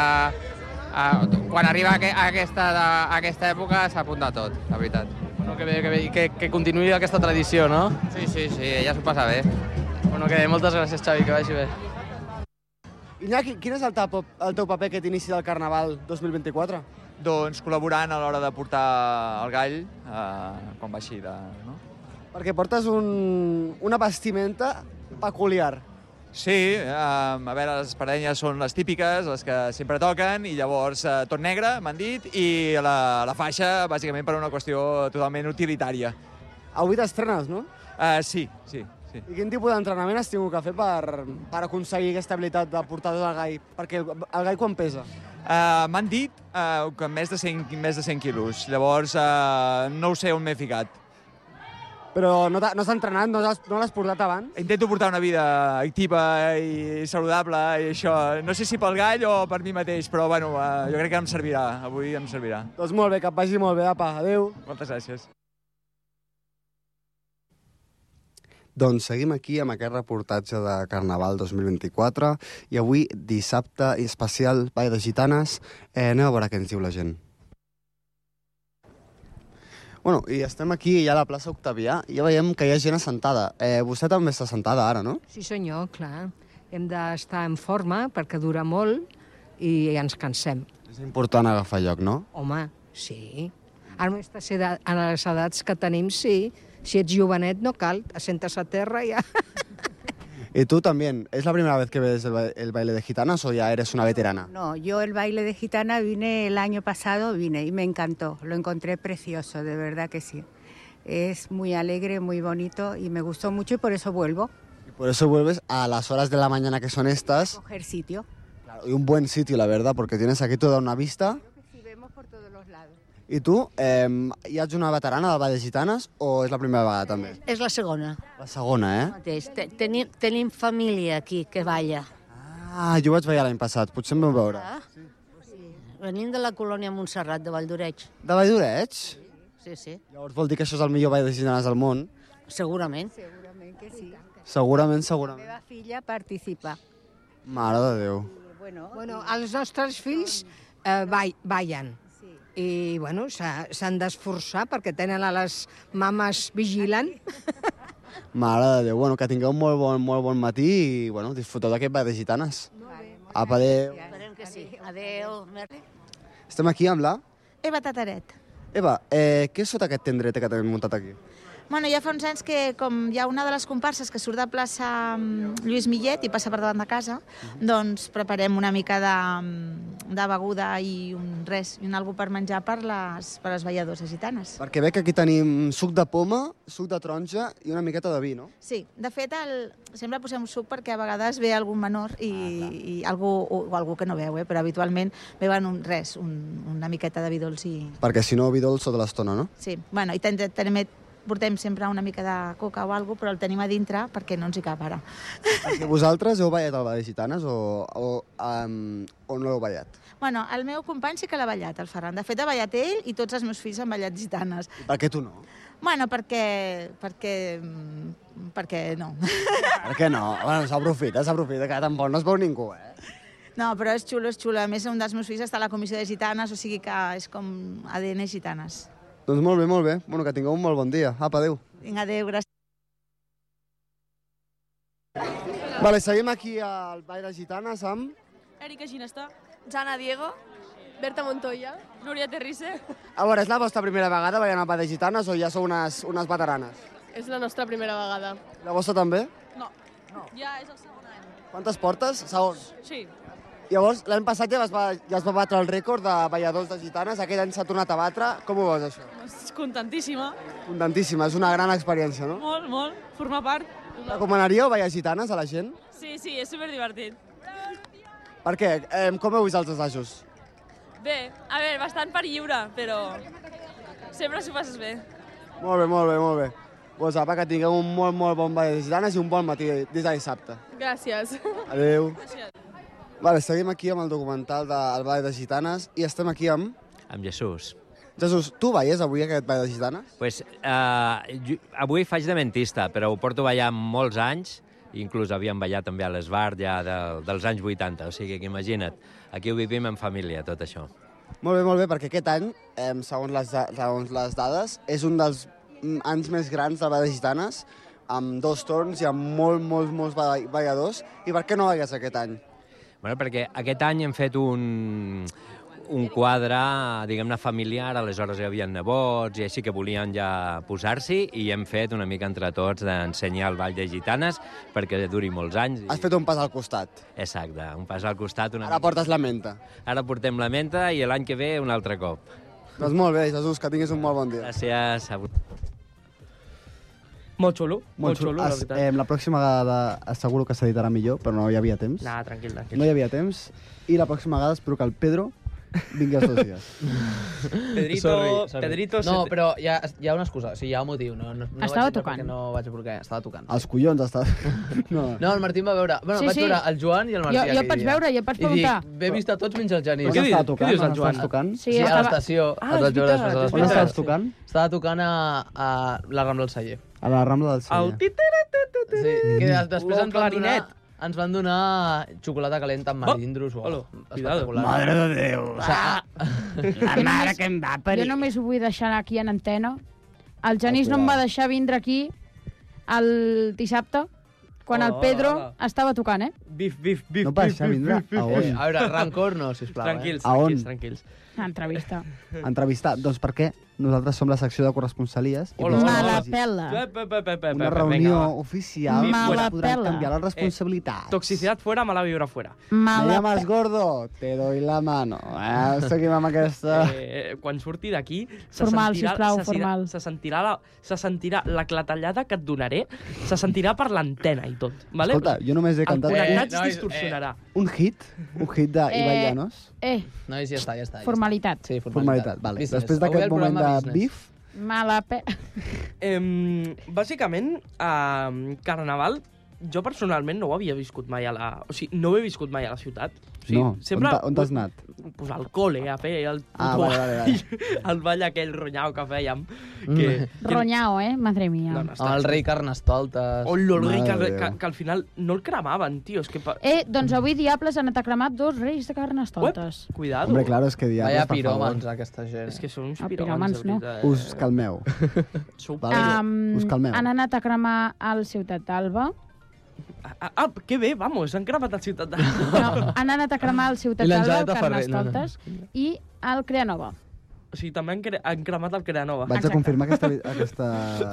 A, quan arriba aque- aquesta, a aquesta època s'apunta a tot, la veritat. Bueno, que bé, que bé, i que, que continuï aquesta tradició, no? Sí, sí, sí, ella s'ho passa bé. Bueno, que bé, moltes gràcies, Xavi, que vagi bé. Iñaki, quin és el teu, el teu paper aquest inici del Carnaval 2024? Doncs col·laborant a l'hora de portar el gall, eh, quan va així de... No? Perquè portes un, una vestimenta peculiar. Sí, eh, a veure, les parelles són les típiques, les que sempre toquen, i llavors eh, tot negre, m'han dit, i la, la faixa, bàsicament, per una qüestió totalment utilitària. Avui t'estrenes, no? Eh, sí, sí, sí. I quin tipus d'entrenament has tingut que fer per, per aconseguir aquesta habilitat de portar tot el gai? Perquè el, el gai quan pesa? Uh, M'han dit uh, que més de 100, més de 100 quilos, llavors uh, no ho sé on m'he ficat. Però no t'ha- no s'ha entrenat, no l'has no l'has portat abans? Intento portar una vida activa i saludable i això. No sé si pel gall o per mi mateix, però bueno, eh, jo crec que em servirà. Avui em servirà. Doncs molt bé, que et vagi molt bé, apa, adeu. Moltes gràcies. Doncs seguim aquí amb aquest reportatge de Carnaval 2024 i avui, dissabte, especial Vall de Gitanes, eh, anem a veure què ens diu la gent. Bueno, i estem aquí ja a la plaça Octavià, i ja veiem que hi ha gent assentada. Eh, vostè també està assentada ara, no? Sí senyor, clar. Hem d'estar en forma perquè dura molt i ens cansem. És important agafar lloc, no? Home, sí. En aquestes eda- en les edats que tenim, sí. Si ets jovenet, no cal. Assentes a terra i ja... I tu també, és la primera vez que ves el, ba- el baile de gitanas o ya eres una veterana? No, yo el baile de gitana vine el año pasado, vine y me encantó, lo encontré precioso, de verdad que sí. Es muy alegre, muy bonito y me gustó mucho y por eso vuelvo Y por eso vuelves a las horas de la mañana que son estas. a coger sitio. Claro, y un buen sitio, la verdad, porque tienes aquí toda una vista. I tu, eh, ja ets una veterana del Ball de Gitanes o és la primera vegada també? És la segona. La segona, eh? Mateix. Te- Tenim, tenim família aquí que balla. Ah, jo ho vaig ballar l'any passat, potser em vau veure. Ah? Sí. Venim de la colònia Montserrat, de Valldoreig. De Vall d'Oreig? Sí, sí. Llavors vol dir que això és el millor Ball de Gitanes del món? Segurament. Segurament que sí. Segurament, La segurament. meva filla participa. Mare de Déu. Bueno, Bueno, els nostres fills eh, ball, ballen. I, bueno, s'ha- s'han d'esforçar perquè tenen a les mames vigilant. Mare de Déu, bueno, que tingueu molt bon, molt bon matí i bueno, disfruteu d'aquest Ball de Gitanes. Apa, adéu. Esperem que sí. Adéu. Merri. Estem aquí amb la... Eva Tataret. Eva, eh, què és sota aquest tendret que tenim muntat aquí? Bueno, ja fa uns anys que, com hi ha una de les comparses que surt de plaça mm, Lluís Millet i passa per davant de casa, Mhm. doncs preparem una mica de, mm, de beguda i un res, i un algo per menjar per les, per les balladores gitanes. Perquè veig que aquí tenim suc de poma, suc de taronja i una miqueta de vi, no? Sí, de fet, el, sempre posem suc perquè a vegades ve algun menor i, ah, i algú, o, o algú que no veu, eh? però habitualment veuen un res, un, una miqueta de vi dolç i... Perquè si no, vi dolç tota l'estona, no? Sí, bueno, i ten- ten- també portem sempre una mica de coca o alguna però el tenim a dintre perquè no ens hi cap ara. Perquè vosaltres heu ballat al Ball de Gitanes o, o, um, o no heu ballat? Bueno, el meu company sí que l'ha ballat, el Ferran. De fet, ha ballat ell i tots els meus fills han ballat gitanes. Per què tu no? Bueno, perquè... perquè... mm, perquè no. Per què no? Bueno, s'aprofita, s'aprofita, que tampoc no es veu ningú, eh? No, però és xulo, és xulo. A més, un dels meus fills està a la comissió de gitanes, o sigui que és com ADN gitanes. Doncs molt bé, molt bé. Bueno, que tingueu un molt bon dia. Apa, adéu. Vinga, adéu, gràcies. Vale, seguim aquí al Ball de Gitanes amb... Erika Ginesta. Jana Diego. Berta Montoya. Núria Terrisse. A veure, és la vostra primera vegada ballant al Ball de Gitanes o ja sou unes, unes veteranes? És la nostra primera vegada. La vostra també? No. no. Ja és el segon any. Quantes portes? Segons. Sí. Llavors, l'any passat ja, vas, ba- ja es va batre el rècord de balladors de gitanes, aquest any s'ha tornat a batre. Com ho veus, això? Doncs Contentíssima. Contentíssima, és una gran experiència, no? Molt, molt. Formar part. Recomanaríeu ballar gitanes a la gent? Sí, sí, és superdivertit. Per què? Eh, com heu vist els assajos? Bé, a veure, bastant per lliure, però sempre s'ho passes bé. Molt bé, molt bé, molt bé. Doncs apa, que tingueu un molt, molt bon ball de gitanes i un bon matí des de dissabte. Gràcies. Adéu. Vale, seguim aquí amb el documental del ball de gitanes i estem aquí amb... Amb Jesús. Jesús, tu balles avui aquest ball de gitanes? Pues, eh, jo, avui faig de mentista, però ho porto ballant molts anys, inclús havíem ballat també a l'esbar ja de, dels anys 80, o sigui que imagina't, aquí ho vivim en família, tot això. Molt bé, molt bé, perquè aquest any, eh, segons, les, da- segons les dades, és un dels mm, anys més grans de balles gitanes, amb dos torns i amb molt, molts, molts ball- balladors. I per què no balles aquest any? Bueno, perquè aquest any hem fet un, un quadre, diguem-ne, familiar, aleshores hi havia nebots i així que volien ja posar-s'hi i hem fet una mica entre tots d'ensenyar el ball de gitanes perquè duri molts anys. I... Has fet un pas al costat. Exacte, un pas al costat. Una Ara portes la menta. Ara portem la menta i l'any que ve un altre cop. Doncs molt bé, Jesús, que tinguis un molt bon dia. Gràcies a vosaltres. Molt xulo, molt xulo, la As, veritat. eh, la pròxima vegada asseguro que s'editarà millor, però no hi havia temps. Nah, tranquil, tranquil. No hi havia temps. I la pròxima vegada espero que el Pedro vingui els dos dies. Pedrito, Sorry, sorry. Pedrito... No, No, però hi ha, hi ha una excusa, o sigui, hi ha un motiu. No, no, no Estava vaig entrar tocant. perquè No vaig voler, estava tocant. Els collons està... No. No, el Martí em va veure... Bueno, Sí, sí, vaig sí. sí. veure el Joan i el Martí. Jo- jo aquell et vaig dia. veure i et vaig I preguntar. dic, he vist a tots menys el Genís. On Què dius- estava tocant? Què dius On el Joan? estaves tocant? Sí, sí a estava- l'estació. Ah, es vaig és veure veritat, és després a veritat. On estaves l'estació. tocant? Estava tocant a, a la Rambla del Celler. A la Rambla del Celler. El Sí, que des- després ens van donar... Ens van donar xocolata calenta amb marindros. Oh, oh, espectacular. Mare de Déu. O sigui, La mare que em va jo només ho vull deixar aquí en antena. El Genís Ah, no em va cuidado. deixar vindre aquí el dissabte, quan Hola, el Pedro hola. estava tocant, eh? Bif, bif, bif, No passa, vindrà. A on? Eh, a veure, rancor no, sisplau. Tranquils, eh? A on? tranquils. Una entrevista. Entrevistar. Doncs perquè nosaltres som la secció de corresponsalies. i podem Me la fer pela. Una reunió oficial Me on la podran pela. canviar les responsabilitats. Toxicidad fuera, mala vibra fuera. Me llamas gordo, te doy la mano. Eh, seguim amb aquesta... Eh, quan surti d'aquí... se Formal, sentirà- sisplau, se sentirà- formal. Se sentirà, la, se sentirà la clatellada que et donaré, se sentirà per l'antena i tot. Vale? Escolta, jo només he cantat El connectats un- eh, distorsionarà. Un hit, un hit de Eh, Ibai Llanos. Eh, Nois, ja està, ja està. formalitat. Sí, Formalitat, vale. Business. Després Avui d'aquest el moment de programa business. bif, Me la pela. Eh, bàsicament, a eh, Carnaval jo personalment no ho havia viscut mai a la... O sigui, no ho he viscut mai a la ciutat. O sigui, No, on t'ha- on t'has anat? Pues al cole, a fer el... Ah, vale, vale, vale. el ball aquell ronyau que fèiem. Que, Mm. que Ronyao, eh? Madre mía. Amb el rei Carnestoltes. Ollo, el rei que, Oh, que, que, al final no el cremaven, tio. És que... Pa... Eh, doncs avui Diables han anat a cremar dos reis de carnestoltes. Cuidado. Hombre, claro, és que diables, Vaya per piròmans, favor. aquesta gent. És que són uns Ah, piròmans, piròmans, de no? Eh, veritat. Us calmeu. vale? Em, Us calmeu. Han anat a cremar al Ciutat d'Alba. Ah, ah, que bé, vamos, han cremat el ciutat de... No, han anat a cremar al Ciutat I d'Alba, l'Angeleta al Ferrer, no, no. Carnestoltes, i al Creanova. O sigui, també han, cre han cremat el Creanova. Vaig a confirmar aquesta... aquesta...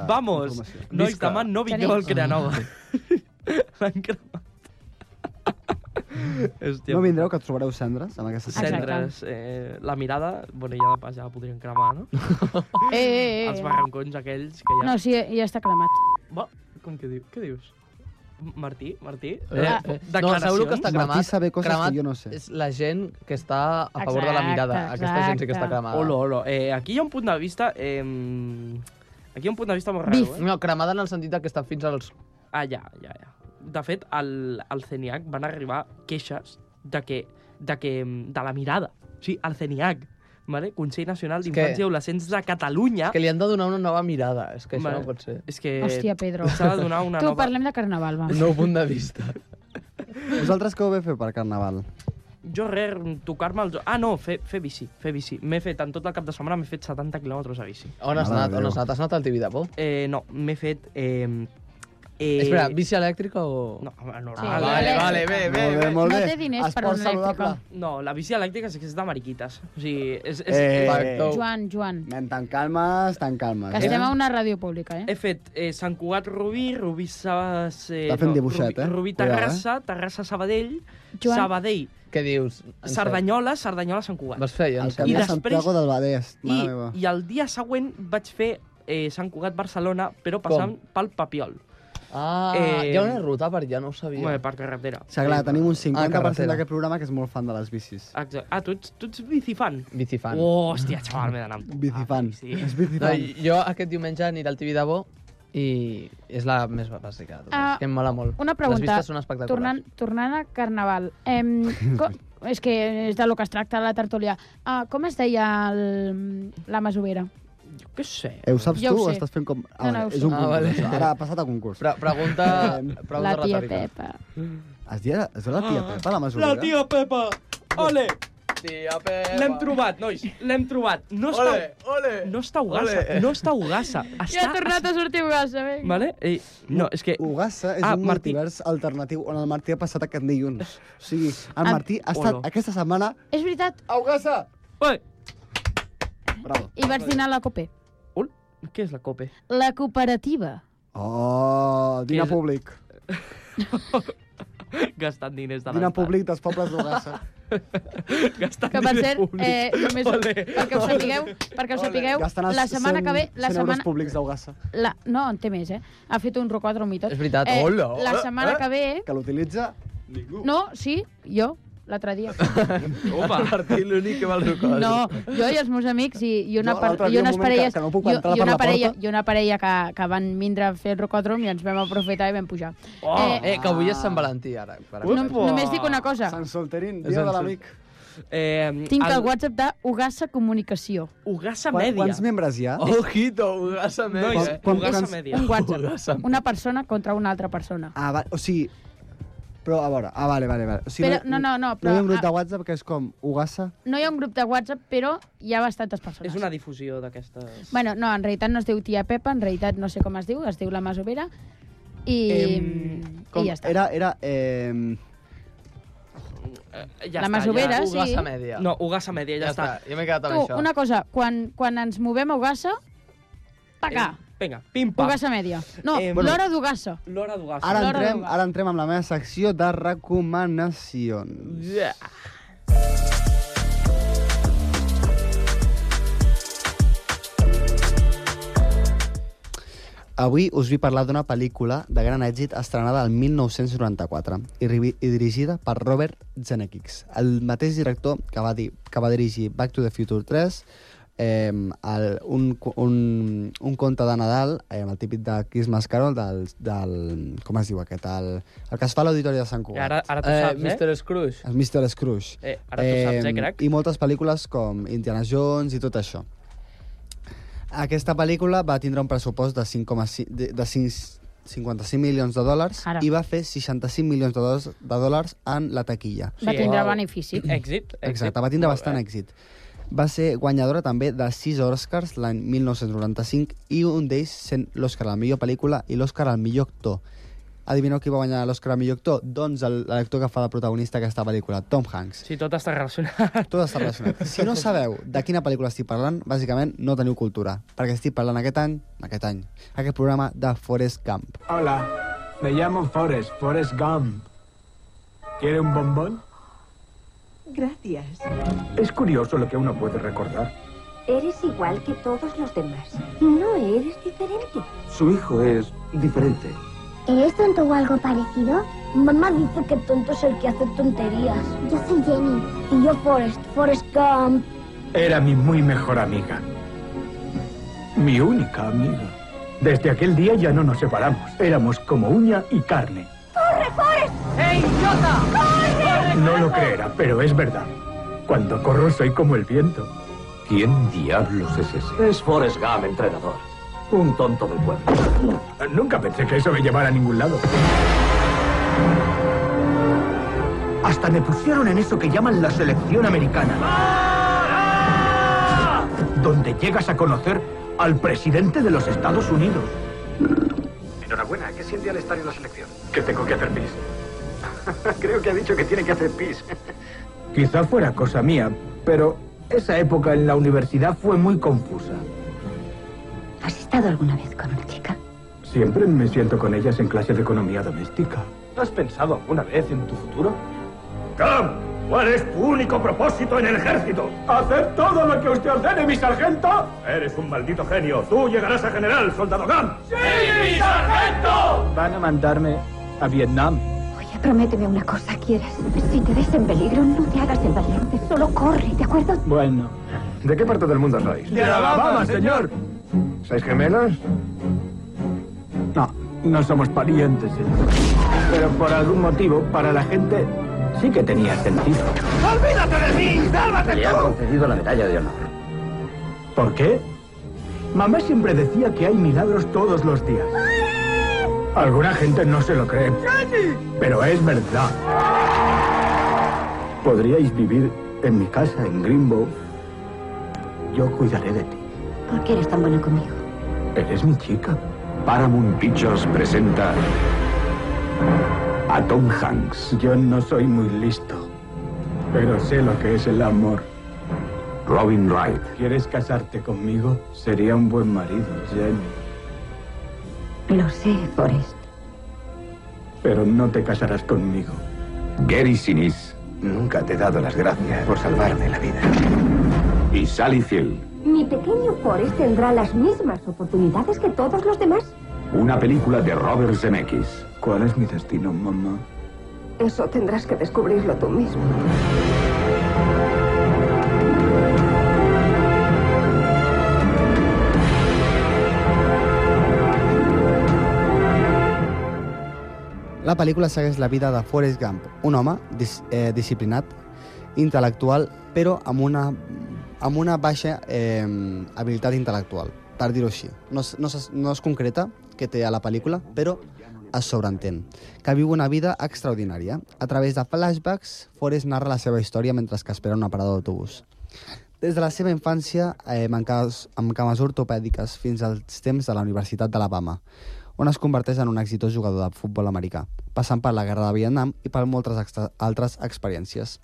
Vamos, nois, Visca. demà no vingueu Tenim. al Ah, Creanova. L'han cremat. Hòstia, No vindreu, que trobareu cendres amb aquestes Cendres, eh, la mirada, bueno, ja de pas ja la podrien cremar, no? Eh, eh, eh. Els barrancons aquells que hi ha... No, sí, ja està cremat. Bo, com que diu? Què dius? M- Martí, Martí? Eh, eh. No, sabeu el que està cremat? cremat És la gent que està a favor de la mirada. Aquesta gent sí que està cremada. Olo, olo. Eh, aquí hi ha un punt de vista... Eh, aquí hi ha un punt de vista molt raro, eh? No, cremada en el sentit de que està fins als... Ah, ja, ja, ja. De fet, al, al CENIAC van arribar queixes de que, de que, de la mirada. O sigui, al CENIAC, vale? Consell Nacional que- d'Infància i Adolescents de Catalunya... És que li han de donar una nova mirada. És que això Vale. no pot ser. És que... Hòstia, Pedro. Eh, S'ha de donar una tu, nova... parlem de carnaval, va. Un nou punt de vista. Vosaltres què ho vau fer per Carnaval? Jo res, tocar-me els... Ah, no, fer, fer bici, fer bici. M'he fet, en tot el cap de setmana, m'he fet 70 quilòmetres a bici. On has anat? On has anat? Has anat al Tibidabo? Eh, no, m'he fet... Eh, eh... Espera, bici elèctrica o...? No, normal. Ah, vale, vale, bé, bé. bé. No, la bici elèctrica és que és de mariquites. O sigui, és... és, Eh, és Joan, Joan. Nen, tan calmes, tan calmes. eh? Que estem a una ràdio pública, eh? He fet eh, Sant Cugat Rubí, Rubí Sabas... Eh, Està fent dibuixet, Rubí, eh? Rubí Cuidado, Terrassa, Terrassa Sabadell, Joan. Sabadell, Què dius? En Cerdanyola, Cerdanyola, Sant Cugat. Vas fer, El Jens? camí I de després- Santiago del Badès, mare I, meva. I el dia següent vaig fer eh, Sant Cugat Barcelona, però passant pel Papiol. Ah, Eh, hi ha una ruta per allà, no ho sabia. Home, per carretera. O sigui, clar, tenim un Ah, 50% carretera. d'aquest programa que és molt fan de les bicis. Exacte. Ah, tu ets, tu ets bicifan? Bicifan. Oh, hòstia, xaval, m'he d'anar amb tu. Bicifan. sí. És bicifan. No, jo aquest diumenge aniré al Tibidabo i és la més bàsica. de totes. Ah, que em mola molt. Una pregunta. Les vistes són espectaculars. Tornant, tornant a Carnaval, em, co- és que és de lo que es tracta la tertúlia. Ah, com es deia el, la masovera? Jo què sé. Eh, ho saps Jo tu ho o sé. estàs fent com... No, no, ho és sé. un Ah, concurs. vale. això. Ara ha passat a concurs. Pre pregunta pregunta la tia retòrica. Pepa. Es deia, es deia la tia Ah. Pepa, la mesura? La tia Pepa! Ole! Tia Pepa. L'hem trobat, nois, l'hem trobat. No està, Ole, ole, no està Ugassa, ole. no està Ugassa. Està, Ja ha tornat a sortir Ugassa, vinga. Vale? Eh, no, és que... Ugassa és Ah, un Martí. multivers alternatiu on el Martí ha passat aquest dilluns. O sigui, el Martí ha estat Olo. aquesta setmana... És veritat. A Ugassa! Ui! Bravo. I vaig dinar a la COPE. Què és la COPE? La cooperativa. Oh, dinar És- públic. Gastant diners de Dinar públic dels pobles d'Ugassa. Gastant Que per diners cert, públics. eh, només Ole. perquè ho sapigueu, perquè ho sapigueu, Gastant els la setmana que ve, 100 la 100 euros setmana, públics d'Ugassa. la, no, en té més, eh? Ha fet un rocòdrom i tot. És veritat. eh, Hola, La hola, setmana eh? que ve... Que l'utilitza... No, sí, jo, l'altre dia. Opa, Martí, l'únic que va al rocòdrom. No, jo i els meus amics i, i, una, Jo, par- l'altre i dia, un unes moment parelles... que- que no puc i- entrar i, per una la parella, porta. I una parella que, que van vindre a fer el rocòdrom i ens vam aprofitar i vam pujar. Oh, eh, eh, que avui és Sant Valentí, ara. Per no, només dic una cosa. Sant Solterín, dia de l'amic. Eh, Tinc el WhatsApp de Ugassa Comunicació. Ugassa Quan- Quants membres hi ha? Ojito, Ugassa Nois, Media. quan- Ugassa És Media. un Ugassa WhatsApp. Una persona contra una altra persona. Ah, va, o sigui... Però, a veure, ah, vale, vale, vale. O sigui, Però- no, no, no, No però- hi ha un grup de ah. WhatsApp que és com Ugassa? No hi ha un grup de WhatsApp, però hi ha bastantes persones. És una difusió d'aquestes... Bueno, no, en realitat no es diu tia Pepa, en realitat no sé com es diu, es diu la Masovera, i, Com, i ja està. Era, era... Eh, Ja La està, masovera, sí. Ugassa Media. No, Ugassa Media, ja, Ja està. està, jo m'he quedat Tu, una cosa, quan, quan ens movem a Ugassa, pagar. Eh, Vinga, pim-pam. Ugassa Mèdia. No, Eh, bueno. l'hora d'Ugassa. L'hora d'Ugassa. ara, entrem, ara entrem amb la meva secció de recomanacions. Yeah. Avui us vull parlar d'una pel·lícula de gran èxit estrenada el 1994 i, rivi- i dirigida per Robert Zemeckis, el mateix director que va, dir, que va dirigir Back to the Future 3, eh, el, un, cu- un, un conte de Nadal, eh, el típic de Christmas Carol, del, del, com es diu aquest, el, el que es fa a l'Auditori de Sant Cugat. Ara- ara t'ho Eh, saps, eh? Mr. Scrooge. El Mr. Scrooge. Eh, ara t'ho saps, eh, crac? I moltes pel·lícules com Indiana Jones i tot això. Aquesta pel·lícula va tindre un pressupost de 5,5 de, de 5, 55 milions de dòlars Ara. i va fer 65 milions de dòlars, de dòlars en la taquilla. Va tindre benefici. Èxit. Exacte, va tindre bastant èxit. Va ser guanyadora també de 6 Oscars l'any 1995 i un d'ells sent l'Oscar a la millor pel·lícula i l'Oscar al millor actor. Adivineu qui va guanyar l'Oscar al millor actor? Doncs el- l'actor que fa de protagonista d'aquesta pel·lícula, Tom Hanks. Sí, tot està relacionat. Tot està relacionat. Si no sabeu de quina pel·lícula estic parlant, bàsicament no teniu cultura, perquè estic parlant aquest any, aquest any, aquest programa de Forest Camp. Hola, me llamo Forrest, Forrest Gump. ¿Quiere un bombón? Gracias. Es curioso lo que uno puede recordar. Eres igual que todos los demás. No eres diferente. Su hijo es diferente. ¿Eres tonto o algo parecido? Mamá dice que tonto es el que hace tonterías. Yo soy Jenny. Y yo Forrest. Forrest Gump. Era mi muy mejor amiga. Mi única amiga. Desde aquel día ya no nos separamos. Éramos como uña y carne. ¡Corre, Forrest! ¡Ey, idiota! ¡Corre! No lo creerá, pero es verdad. Cuando corro soy como el viento. ¿Quién diablos es ese? Es Forrest Gump, entrenador. Un tonto del pueblo. Nunca pensé que eso me llevara a ningún lado. Hasta me pusieron en eso que llaman la selección americana. Donde llegas a conocer al presidente de los Estados Unidos. Enhorabuena, ¿qué siente al estar en la selección? Que tengo que hacer pis. Creo que ha dicho que tiene que hacer pis. Quizá fuera cosa mía, pero esa época en la universidad fue muy confusa. ¿Has estado alguna vez con una chica? Siempre me siento con ellas en clase de economía doméstica. ¿Has pensado alguna vez en tu futuro? ¡Cam! ¿Cuál es tu único propósito en el ejército? ¡Hacer todo lo que usted ordene, mi sargento! Eres un maldito genio. Tú llegarás a general, soldado Gam. ¡Sí, mi sargento! Van a mandarme a Vietnam. Oye, prométeme una cosa, ¿quieres? Si te ves en peligro, no te hagas el valiente. Solo corre, ¿de acuerdo? Bueno. ¿De qué parte del mundo sois? De Alabama, señor. ¿Sois gemelos? No, no somos parientes, señor. Pero por algún motivo, para la gente, sí que tenía sentido. ¡Olvídate de mí! ¡Sálvate Le ha concedido la medalla de honor. ¿Por qué? Mamá siempre decía que hay milagros todos los días. Alguna gente no se lo cree, pero es verdad. Podríais vivir en mi casa, en Greenbow. Yo cuidaré de ti. ¿Por qué eres tan bueno conmigo? Eres mi chica. Paramount Pictures presenta a Tom Hanks. Yo no soy muy listo, pero sé lo que es el amor. Robin Wright. ¿Quieres casarte conmigo? Sería un buen marido, Jenny. Lo sé, Forrest. Pero no te casarás conmigo. Gary Sinise. Nunca te he dado las gracias por salvarme la vida. Y Sally Field. Mi pequeño Forrest tendrá las mismas oportunidades que todos los demás. Una película de Robert Zemeckis. ¿Cuál es mi destino, mamá? Eso tendrás que descubrirlo tú mismo. La pel·lícula segueix la vida de Forrest Gump, un home dis eh, disciplinat, intel·lectual, però amb una, amb una baixa eh, habilitat intel·lectual, per dir-ho així. No, es- no, es, no es concreta que té a la pel·lícula, però es sobreentén, que viu una vida extraordinària. A través de flashbacks, Forrest narra la seva història mentre que espera una parada d'autobús. Des de la seva infància, eh, amb, cames, amb cames ortopèdiques fins als temps de la Universitat d'Alabama, on es converteix en un exitós jugador de futbol americà, passant per la Guerra de Vietnam i per moltes extra- altres experiències,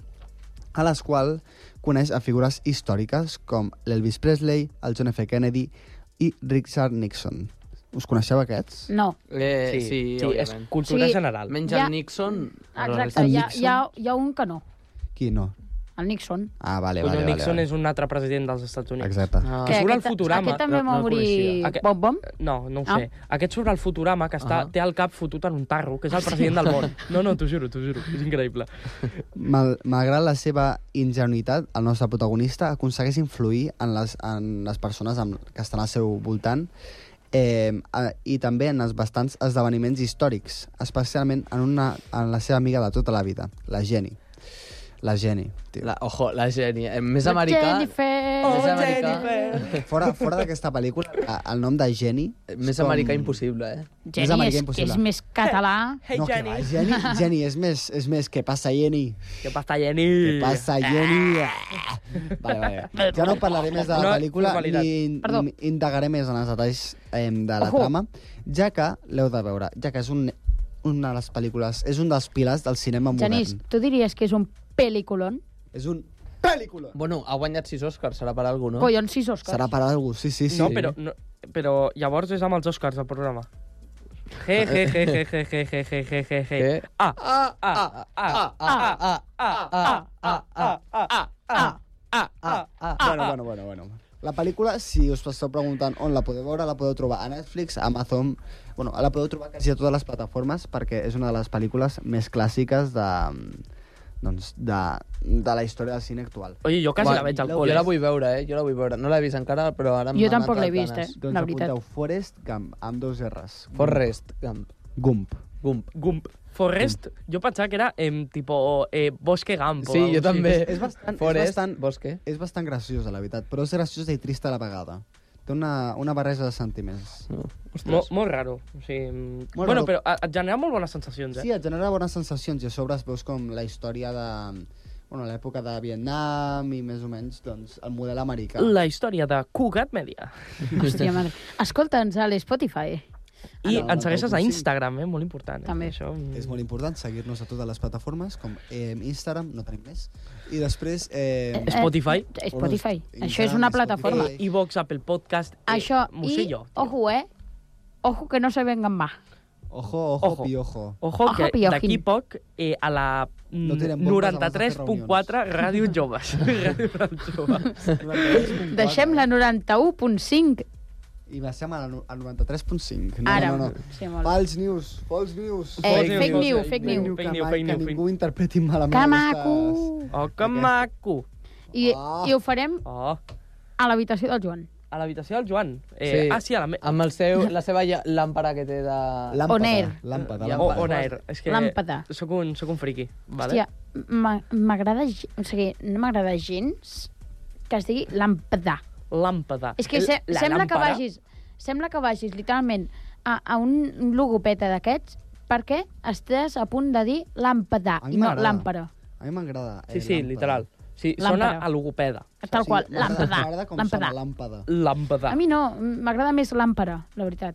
a les quals coneix a figures històriques com l'Elvis Presley, el John F. Kennedy i Richard Nixon. Us coneixeu aquests? No. Eh, sí, sí, òbviament. és cultura Sí. general. Menys Ja- el Nixon... Exacte, El hi ha, Nixon. hi, ha, hi ha un que no. Qui no? El Nixon. Ah, vale, Coño, vale, vale, Nixon vale. és un altre president dels Estats Units. Exacte. Ah. Que Que surt al aquest- Futurama. aquest també No, va no el morir coneixia. Aquest- Bom Bom? No, no ho Ah. sé. Aquest surt al Futurama, que està, té el cap fotut en un tarro, Ah, que és el president del món. No, no, t'ho juro, t'ho juro. És increïble. Mal, malgrat la seva ingenuïtat, el nostre protagonista aconsegueix influir en les, en les persones amb, que estan al seu voltant eh, a, i també en els bastants esdeveniments històrics, especialment en, una, en la seva amiga de tota la vida, la Jenny. La Jenny. La, ojo, la Jenny. eh, Més La americà... Jennifer. Més americà. Fora, fora d'aquesta pel·lícula, a- el nom de Jenny... Eh, Més americà impossible, eh? més Jenny americà és, que és impossible. més català. Hey, no, Jenny. Que va, Jenny, Jenny és més, és més que passa Jenny. Què passa, Jenny? Què passa, Jenny? Ah. Ah. Vale, vale, vale. Ja no parlaré més de la Una pel·lícula normalitat. ni, Perdó. ni indagaré més en els detalls eh, de la Ojo. trama, ja que l'heu de veure, ja que és un, una de les pel·lícules, és un dels pilars del cinema Genís, modern. tu diries que és un peliculón? És un pel·lícula. Bueno, ha guanyat sis Oscars, serà per alguna No. no? Collons, sis Oscars. Serà per algú, sí, sí, sí. No, però, no, però llavors és amb els Oscars, el programa. Je, je, je, je, je, je, je, je, je, je, je. Ah, ah, ah, ah, ah, ah, ah, ah, ah, ah, ah, ah, ah, ah, ah, Bueno, bueno, bueno, bueno. La pel·lícula, si us esteu preguntant on la podeu veure, la podeu trobar a Netflix, a Amazon... Bueno, la podeu trobar quasi a totes les plataformes perquè és una de les pel·lícules més clàssiques de, doncs, de, de la història del cine actual. Oye, jo quasi la veig al Jo col·le. la vull veure, eh? Jo la vull veure. No l'he vist encara, però ara... Jo m'han tampoc entrat l'he vist, ganes. eh, Doncs apunteu Forest Gump, amb dos R's. Forrest Gump. Gump. Gump. Gump. Forrest, jo pensava que era em, tipo eh, Bosque Gump. o Sí, algo jo així. també. És bastant, és bastant, Bosque. és bastant graciosa, la veritat, però és graciosa i trista a la vegada. Té una, una barreja de sentiments. Mo, molt raro. O sigui, molt bueno, raro. però eh, et genera molt bones sensacions, eh? Sí, et genera bones sensacions i a sobre es veus com la història de... Bueno, l'època de Vietnam i més o menys doncs, el model americà. La història de Cugat Media. Hòstia, madre. Escolta'ns a l'Spotify. I Ah, no, ens segueixes a sí. Instagram, eh? Molt important. Eh? També. Això... És molt important seguir-nos a totes les plataformes, com eh, Instagram, no tenim més, i després... Eh, Spotify. Eh, Spotify. Això és una plataforma. I Vox, Apple Podcast, eh, Això, i, Musillo. ojo, eh? Ojo que no se vengan más. Ojo, ojo, ojo. piojo. Ojo, Ojo, que piojín. d'aquí poc eh, a la No mm, tenen bombes abans de fer 93.4 Ràdio Joves. Ràdio Joves. Mm. Deixem la 91.5. I baixem a la nu- al 93.5. No, Ara. no, no. Sí, molt bé. False news, false news. Eh, False fake news, news, fake fake news. news, Que fake news, mai- fake Que news, ningú interpreti malament. Que aquesta- maco! Oh, que maco. I, Ah. I ho farem Oh. a l'habitació del Joan. A l'habitació del Joan. Eh, Sí. Ah, sí, a la... me- Amb el seu, la seva lla- làmpara que té de... Làmpada, On air. Làmpada, O, on air. És que Làmpada. Soc un, soc un friki. Vale? Hòstia, m'a- m'agrada... ge- O sigui, no m'agrada gens que es digui làmpada. Làmpada. És que se, La sembla que làmpara- vagis... Sembla que vagis, literalment, a, a un logopeta d'aquests perquè estàs a punt de dir làmpada mi i no m'agrada. làmpara. A mi m'agrada. Sí, sí, literal. Sí, Làmpara. sona a logopeda. Tal qual, M'agrada làmpada. m'agrada com làmpada. sona làmpada. Làmpada. A mi no, m'agrada més l'àmpara, la veritat.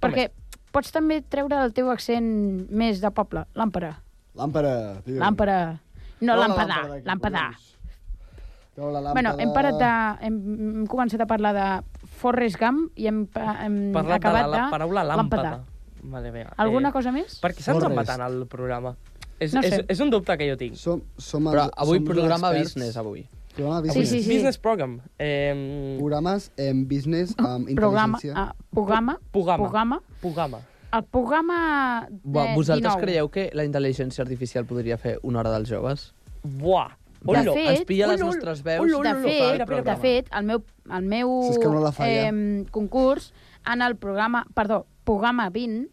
Perquè pots també treure el teu accent més de poble, l'àmpara. Làmpara, tio. L'àmpara. No, Hola, l'àmpada, làmpada, que l'àmpada. Treu la làmpada. Bueno, hem parat de... Hem, hem començat a parlar de Forrest Gump i hem, pa- hem Parlat de la, acabat de... la paraula làmpada. làmpada. Vale, vinga. Alguna cosa més? Per què se'ns en va Forrest. tant el programa? És, No és, sé. és un dubte que jo tinc. Som, som Però els- avui som els programa experts. business, avui. Programa Avui business. és Business program. Eh, Programes en business amb Programa, intel·ligència. ah, programa, Pugama. programa. Pugama. El programa de Bo, vosaltres 19. creieu que la intel·ligència artificial podria fer una hora dels joves? Buah. De Olo, fet, ens pilla les olo, nostres veus. olo, de, fet, de programa. fet, el meu, el meu Si és que no la falla. em, concurs en el programa, perdó, programa 20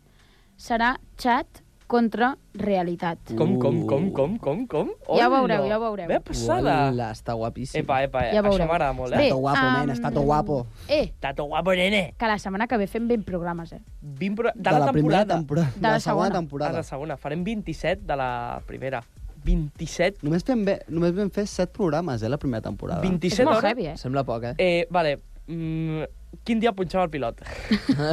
serà xat contra realitat. Com, com, com, com, com, com? Ja ho veureu, ja ho veureu. Ve passada. Hola, està guapíssim. Epa, epa, Ja ja ho això veureu. m'agrada molt, eh? Bé, Està guapo, em, nena, està tot guapo. Eh, Tato guapo, nene. que la setmana que ve fem 20 programes, eh? 20 pro... de, De la, la primera temporada. temporada. De la De la segona segona. temporada. De la segona. Farem 27 de la primera. 27. Només, vam, ve- només vam fer 7 programes, eh, la primera temporada. 27 És molt hores. heavy, eh? Sembla poc, eh? Eh, vale. Mm, quin dia punxava el pilot?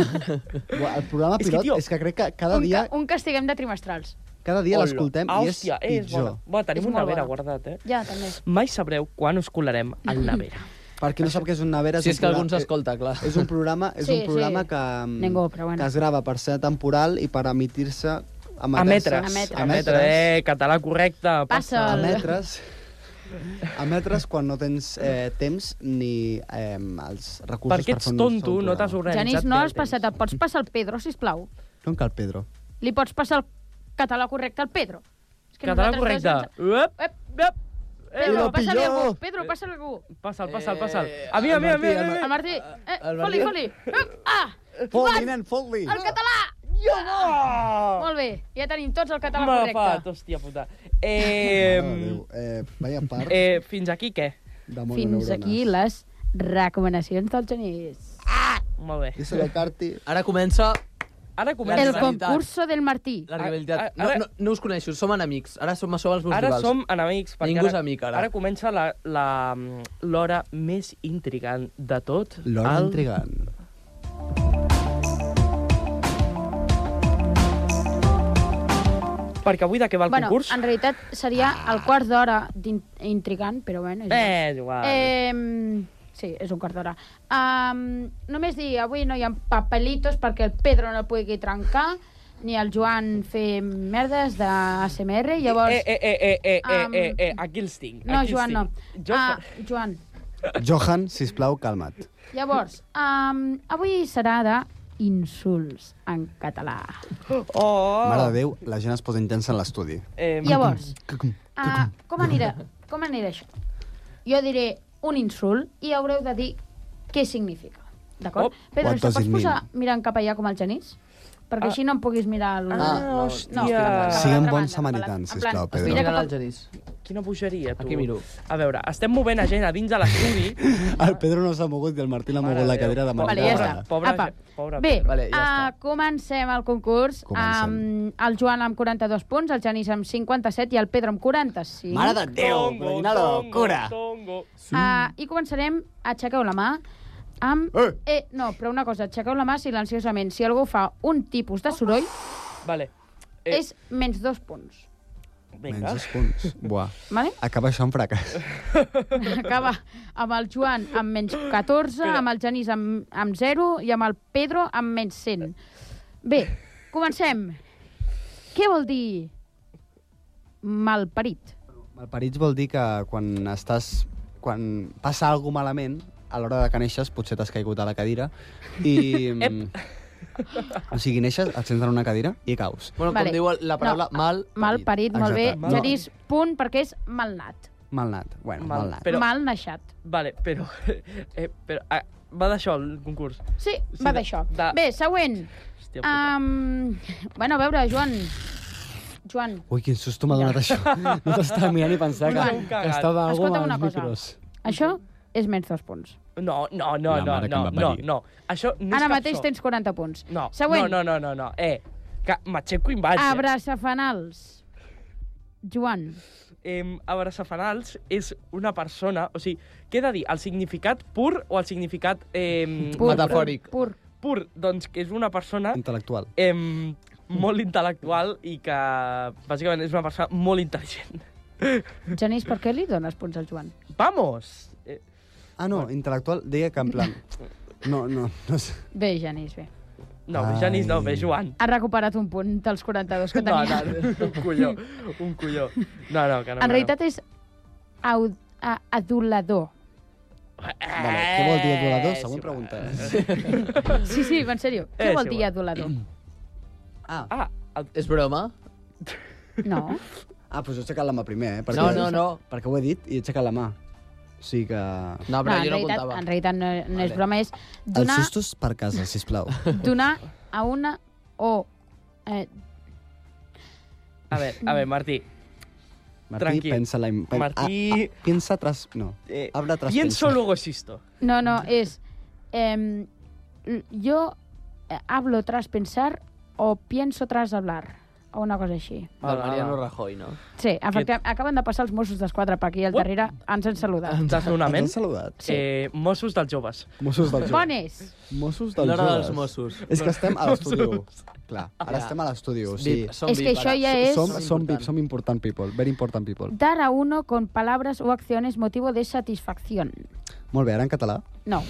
Buah, El programa pilot És que, és que, tio, és que crec que cada un, dia, ca, un castiguem de trimestrals. cada dia Hola. l'escoltem Ah, i és hòstia, eh, és pitjor. bona. Bona, tenim És una molt nevera bona. guardat, eh? Ja, també. Mai sabreu quan us colarem al nevera. Per qui no sap què és un nevera... Si un és que programa- algú ens escolta, clar. És un programa, és Sí, un programa sí. que, mm, Ningú, però bueno. que es grava per ser temporal i per emitir-se... A Eh, emetre-se- metres. A metres. Eh, català correcte. Passa el- Emetres. Emetres quan no tens eh, temps ni eh, els recursos Perquè per ets fer un tonto, sol no t'has programa. Genís, no has passat. Et pots passar el Pedro, si plau. No em cal Pedro. Li pots passar el català correcte al Pedro. És Català nosaltres correcte. Uep, dos- Pedro, passa-li a algú. Pedro, passa-li a algú. Passa'l, passa'l, passa'l. A mi, a mi, a mi, a mi. El Martí, eh, el foli, Martí. Eh, foli. Ep, Ah! Fot-li, Joan, nen, fot-li. El català! Jo no! Molt bé, ja tenim tots el Tota català Mafat, correcte. hòstia puta. Eh, eh, vaya part. eh, fins aquí, què? Fins aquí les recomanacions del Genís. Molt bé. Díselo, Carti. Ara comença... Ara comença- El concurso del Martí. Ah, La rivalitat. Ah, ara- No, no, no us coneixo, som enemics. Ara som, som els meus Ara rivals. som enemics. perquè Ningú és amic, ara. Ara comença la- la- l'hora més intrigant de tot. L'hora el- intrigant. Perquè avui de què va el bueno, concurs? Ah. en realitat seria el quart d'hora d'in- intrigant, però bueno... És Eh, és igual. Eh, sí, és un quart d'hora. Um, només dir, avui no hi ha papelitos perquè el Pedro no pugui trencar, ni el Joan fer merdes d'ASMR, llavors... Eh, eh, eh, eh, eh, eh, Am- eh, eh, aquí els tinc. no, aquí els Joan, no. tinc. Jo... Ah, Joan, Johan, sisplau, calma't. llavors, um, avui serà de insults en català. Oh! Mare de Déu, la gent es posa intensa en l'estudi. Eh, Llavors, uh, com, anirà, com anirà això? Jo diré un insult i haureu de dir què significa. D'acord? Oh. Pedro, What si does it pots mean? posar mirant cap allà com el Genís? Perquè Ah. així no em puguis mirar... El... Ah, no, hòstia. no, cap a Siguem bons l'altra banda, cap a samaritans, l'altra- en plan, sisplau, es Pedro. mira cap a- Genís. Quina bogeria, tu. Aquí miro. A veure, estem movent a gent a dins de l'estudi. El Pedro no s'ha mogut i el Martí l'ha Mare mogut la de Déu. cadira de manera. Vale, ja està. Pobre, Apa. pobre Bé, Pedro. vale, ja uh, comencem el concurs. Comencem. Um, el Joan amb 42 punts, el Genís amb 57 i el Pedro amb 45. Mare de Déu, però quina locura. Sí. Uh, I començarem, aixequeu la mà, amb... Eh. eh! No, però una cosa, aixequeu la mà silenciosament. Si algú fa un tipus de soroll, Vale. eh. és menys dos punts. Menys dos punts. Buah. Vale? Acaba això en fracàs. Acaba amb el Joan amb menys 14, Espera. amb el Genís amb, amb 0 i amb el Pedro amb menys 100. Bé, comencem. Què vol dir malparit? Malparits vol dir que quan estàs... Quan passa alguna malament, a l'hora de que neixes, potser t'has caigut a la cadira i... mm, o sigui, neixes, et sents en una cadira i caus. Bueno, Vale. com diu la paraula, No, mal... Malparit, molt bé. Exacte. No. Genís, punt, perquè és malnat. Malnat. Bueno, Mal- malnat. Però- Mal naixat. Vale, però... Eh, però ah, va d'això, el concurs. Sí, Sí, va de- d'això. de- Bé, següent. Hòstia puta. Um, bueno, a veure, Joan. Joan, Ui, quin susto m'ha donat això. No t'estava mirant i pensava que, Joan, que estava algú escolta amb una els cosa. micros. això és menys dos punts. No, no, no, La no, mare que no, em va no, parir. no. Això no és Ara cap mateix so. tens 40 punts. No, Següent. no, no, no, no, no. Eh, que m'aixeco i em vaig. eh. Abraçafanals. Joan. eh, abraçafanals és una persona... O sigui, què he de dir? El significat pur o el significat... Eh, Pur. Metafòric. Pur. Pur, doncs que és una persona Intel·lectual. eh, molt intel·lectual i que, bàsicament, és una persona molt intel·ligent. Genís, per què li dones punts al Joan? Vamos! Eh, Ah, no, intel·lectual, deia que en plan... No, no, no sé. Bé, Genís, bé. no, Ai. Janis, no, bé, Joan. Ha recuperat un punt dels 42 que No, tenia. no, no, un colló, un colló. No, no, que no. en realitat és au- a- adulador. Vale, què vol dir adulador? Següent Ah. pregunta. Sí, sí, en sèrio. Eh, Què vol sí, dir bueno. adulador? Ah. ah. És broma? No. Ah, doncs he aixecat la mà primer, eh? No, no, no. Perquè ho he dit i he aixecat la mà. O sigui que... No, en, realitat, en realitat no, no és broma, és donar, Els sustos per casa, sisplau. donar a una o... Eh, A veure, a veure, Martí. Martí, Tranquil. pensa la... Pen... Martí- Ah, ah, piensa tras... No, Eh, habla tras Pienso luego existo. no, no, és... Eh, jo eh, hablo tras pensar o pienso tras hablar, o una cosa així. Del Mariano Rajoy, Ah, no? Sí, efectivament, acaben de passar els Mossos d'Esquadra per aquí al darrere, ens han saludat. Desnonament. Ens Ah, han saludat. Sí. Eh, Mossos dels joves. Mossos del joc. Bones! Mossos del L'hora dels Mossos. És que estem a l'estudi 1. Clar, ara Ja. estem a l'estudi 1, sí. VIP, som És que VIP, això ara. ja és- Som, som VIP, som important people, very important people. Dar a uno con palabras o acciones motivo de satisfacción. Molt bé, ara en català. No.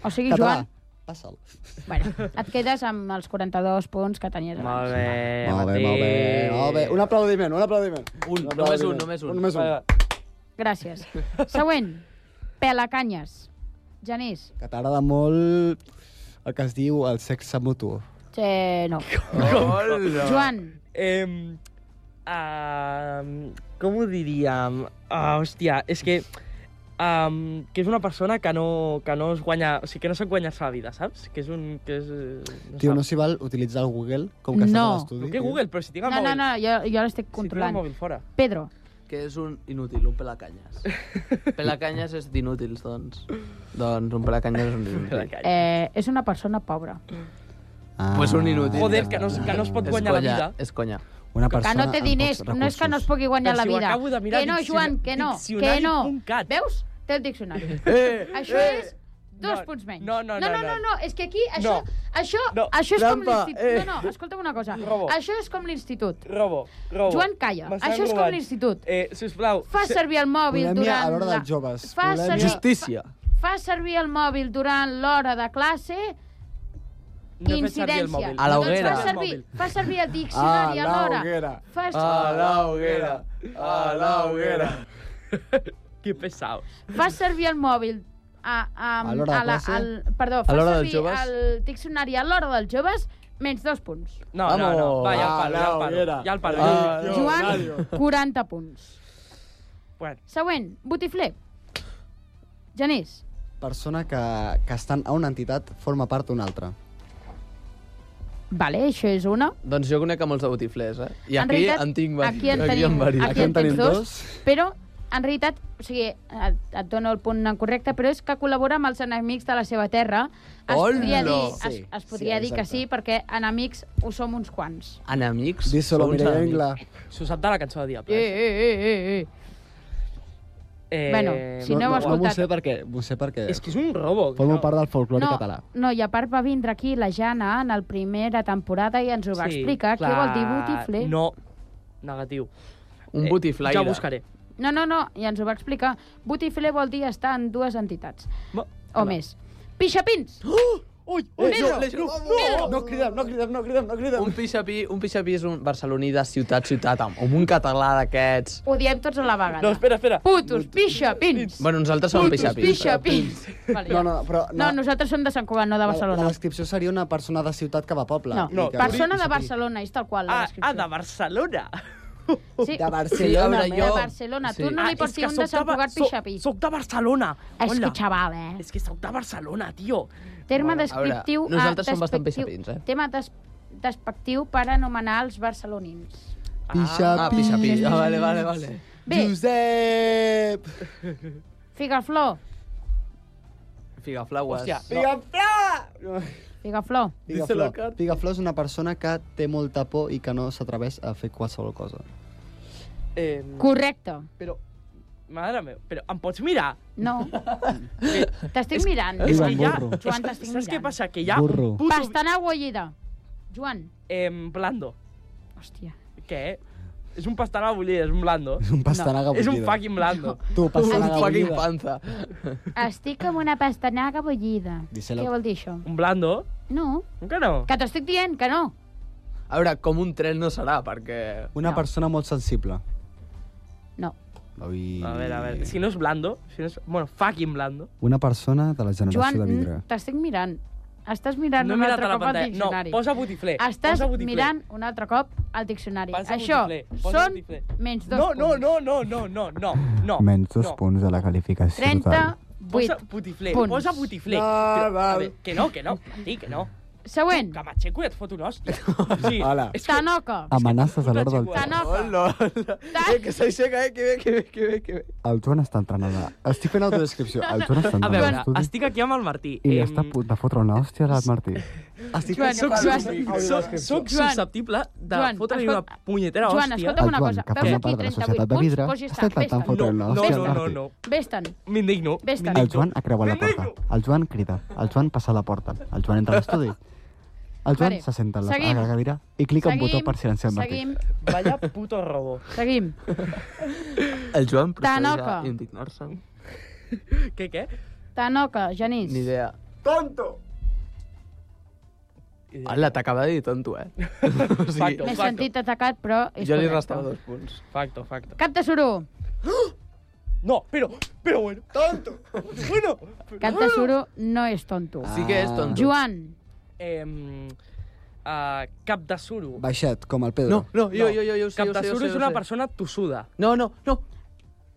O sigui, Català, Joan, passa'l. bueno, et quedes amb els 42 punts que tenies abans. Molt bé, Molt bé, Martí. molt bé, molt bé. Un aplaudiment, un aplaudiment. Un, només un, només un. Només un. Va, Gràcies. Següent. Pelacanyes. Genís. Que t'agrada molt el que es diu el sexe mutu. Eh, no. Hola. Joan. Em, am, com ho diríem? Ah, hòstia, és que... Um, que és una persona que no, que no es guanya... O sigui, que no se'n guanya sa vida, saps? Que és un... Que és, no Tio, sap. no s'hi val utilitzar el Google com que estàs a No. l'estudi? Però què tio? Google? Però si tinc No, el no, mòbil. no, jo, jo Si tinc l'estic el controlant. mòbil fora. Pedro. Que és un inútil, un pelacanyes. pelacanyes és d'inútils, doncs. Doncs un pelacanyes és un inútil. Eh, és una persona pobra. Mm. Eh. Ah. Pues un inútil. Joder, que no, es- que no es pot És guanyar la conya, vida. És conya. Una Que no té diners. No és que no es pugui guanyar Però la si ho vida. acabo de mirar, que no, Joan, que no. Que diccionari no. Veus? Té el diccionari. Eh, Això eh. és dos punts menys. no, no, no, no, no, no, no. no. És que aquí això, No. això, No. això és com Trampa, l'institut. eh. No, no, escolta'm una cosa. Robo. Això és com l'institut. Robo, robo. Joan, calla. M'estan Això és com robant. l'institut. Eh, sisplau. Fa se- servir el mòbil durant... la- Fa servir, Justícia. fa servir el mòbil durant l'hora de classe No he fet servir el incidència. mòbil. A la Doncs hoguera. Fa servir, fa servir el diccionari A a la l'hora. hoguera. Fa, A la hoguera. A la hoguera. Que pesau. fa servir el mòbil a, a, A l'hora de a la, classe? al, perdó, A fa l'hora dels servir joves? el diccionari a l'hora dels joves menys dos punts. No, no, no. Vamos. Va, ja el palo, ja el Ah, palo. Laura, Ja el palo. Ah, Ja el palo. Joan, 40 punts. Bueno. Següent, botifler. Genís, Persona que, que estant a una entitat forma part d'una altra. vale, això és una. Doncs jo conec a molts de botiflers, eh? I En aquí realitat, en tinc varis. aquí en tenim- en varis. aquí en tens dos. Però, en realitat, o sigui, et, et dono el punt correcte, però és que col·labora amb els enemics de la seva terra. Es Hola! podria dir, es, Sí, es sí, podria dir que exacte. sí, perquè enemics ho som uns quants. Enemics? Dis solo Sou uns Mireia enemics. Engla. S'ho sap de la cançó de Diable. Eh, eh, eh, eh, eh. Eh, Bueno, si no, heu No m'ho escoltat... sé perquè... M'ho sé perquè... És que és un robo. Formo part del folclore no, català. no, i a part va vindre aquí la Jana en la primera temporada i ens ho Eh, va explicar. Què vol dir botifler? No, negatiu. Un Eh, botiflaire. Ja ho buscaré. No, no, no, i ens ho va explicar. Botifler vol dir estar en dues entitats. Ma- O més. Pixapins! Oh! Ui, un ui, euro! no, les grup. No! no cridem, no cridem, no cridem, no cridem. Un pixapí, un pixapí és un barceloní de ciutat, ciutat, amb, amb un català d'aquests. Ho diem tots a la vegada. No, espera, espera. Putos, pixapins! Bueno, nosaltres som Putos, pixapins. pixapins! Vale, No, no, però... No, nosaltres som de Sant Cugat, no de La, Barcelona. la descripció seria una persona de ciutat cap a poble. No, no persona de Barcelona, és tal qual la descripció. Ah, de Barcelona. Sí. De Barcelona, Sí, a veure, jo- De Barcelona. Sí. Tu no Ah, li és pots dir que un soc de Sant de Bar- Cugat soc- Pixapí. Soc de Barcelona. És Hola. que, xaval, eh? És que soc de Barcelona, tio. Terme Bueno, a veure, descriptiu... a- nosaltres som bastant despectiu- pixapins, eh? Tema des, despectiu per anomenar els barcelonins. Ah, pixapí. Ah, vale, vale, vale. Bé. Josep! Figaflor. Figaflaues. Hòstia, Figaflor! Figaflor. Pigaflor. Pigaflor és una persona que té molta por i que no s'atreveix a fer qualsevol cosa. Eh, Correcte. Però, mare meva, però em pots mirar? No. T'estic mirant. És que ja... Joan, t'estic Saps què mirant. passa? Que hi ha un puto... Pastanago bullida. Joan. Em, blando. Hòstia. Què? És un pastanaga bullida, és un blando. És un pastanaga És un bullida. fucking blando. Tu, pastanaga Un fucking bullida. panza. Estic amb una pastanaga bullida. Díselo. Què vol dir això? Un blando? No. Que no? Que t'estic dient que no. A veure, com un tren no serà, perquè... Una persona molt sensible. No. Ui. A veure, a veure. Si no és blando, si no és... Bueno, fucking blando. Una persona de la generació Joan, de vidre. t'estic mirant. Estàs mirant No he un mirat altre a la cop el pantalla. No, diccionari. posa botifler, Estàs posa botifler. mirant un altre cop el diccionari. Posa Això botifler, posa són botifler. menys dos No, no, punts. no, no, no, no, no, no. Menys dos no. punts de la qualificació 38 Posa botifler, punts. posa botifler. No, Ah, Però, a val. veure, que no, que no, Martí, que no. Següent. Que m'aixeco i et foto una hòstia. Sí, Hola. Tanoca. Amenaces a l'hora del... Tanoca. Hola, hola. Eh, que s'aixeca, eh? Que bé, que bé, que bé, que bé. El Joan està entrant a la... Estic fent autodescripció. El Joan està A entrant a veure, l'estudi estic aquí amb el Martí. i li està a punt de fotre una hòstia al Martí. Estic Joan, soc, Joan, soc, Joan, soc, soc Joan, susceptible de Joan, fotre-li una escolta- punyetera Joan, hòstia. escolta'm una cosa. que Veus forma aquí part de la 38 societat de punts, vidre, pues ja està està, intentant vés-te'n. fotre una hòstia al No, no, Martí. no, no. Vés-te'n. M'indigno. Vés-te'n. El Joan ha creuat la porta. El Joan crida. El Joan passa a la porta. El Joan entra a l'estudi. El Joan Vale. se senta a la, a Seguim. la cadira i clica un botó per silenciar el Martí. Seguim, Vaya puto robo. seguim. El Joan procedeix Tanoca. a indignar-se. Què, què? Tanoca, Genís. Ni idea. Tonto! Hola, t'acaba de dir tonto, eh? o Facto, M'he sentit atacat, però és jo li correcte. restava dos punts. Facto, facto. Cap de suro. No, pero, pero bueno. Tonto. Bueno. Cantasuro no és tonto. Sí que és tonto. Joan. Eh, uh, Cap de suro. Baixet, com el Pedro. No, no, jo, jo, jo, jo ho sé, Cap jo de ho sé, jo ho suro sé, és jo ho una sé. persona tossuda. No, no, no.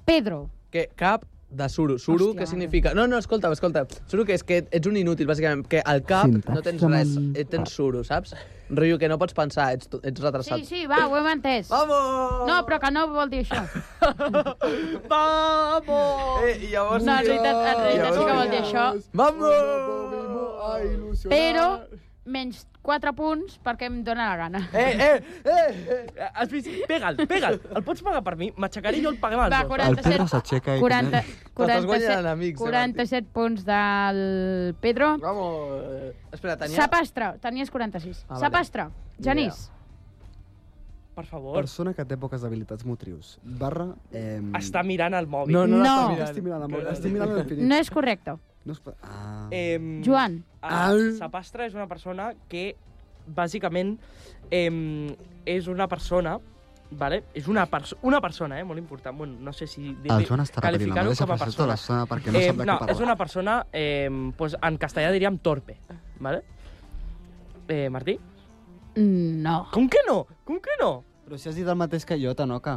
Pedro. Que cap de suro. Suro, Hòstia, què significa? No, no, escolta, escolta. Suro que és que ets un inútil, bàsicament. Que al cap no tens res, eh, tens suro, saps? Rollo que no pots pensar, ets, ets retrasat. Sí, sí, va, ho hem entès. Vamos! No, però que no vol dir això. Vamos! Eh, i llavors... No, en realitat, en realitat sí que vol dir això. Vamos! Però menys 4 punts perquè em dóna la gana. Eh, eh, eh, eh. Has vist? Pega'l, pega'l. El pots pagar per mi? M'aixecaré i jo el paguem els Va, dos. 47, Pedro s'aixeca i 40, T'estàs guanyant eh, 47, amics, 47 punts del Pedro. Vamos! Espera, tenia... Sapastre, tenies 46. Eh, Ah, vale. Sapastre, Genís. Per favor. Persona que té poques habilitats motrius. Barra... Eh... Està mirant el mòbil. No, no, no. No. Està, estic mirant el mòbil. Estic mirant l'infinit. No és correcte. No es... pot- Ah. Em, Joan. El sapastre és una persona que, bàsicament, em, és una persona Vale? És una, perso una persona, eh? molt important. Bueno, no sé si... dir- El Joan està repetint la qualificar-ho mateixa com a frase tota persona. l'estona perquè no sap de què no, parla. és una persona, eh, pues, en castellà diríem torpe. Vale? Eh, Martí? No. Com que no? Com que no? Però si has dit el mateix que jo, Tanoca.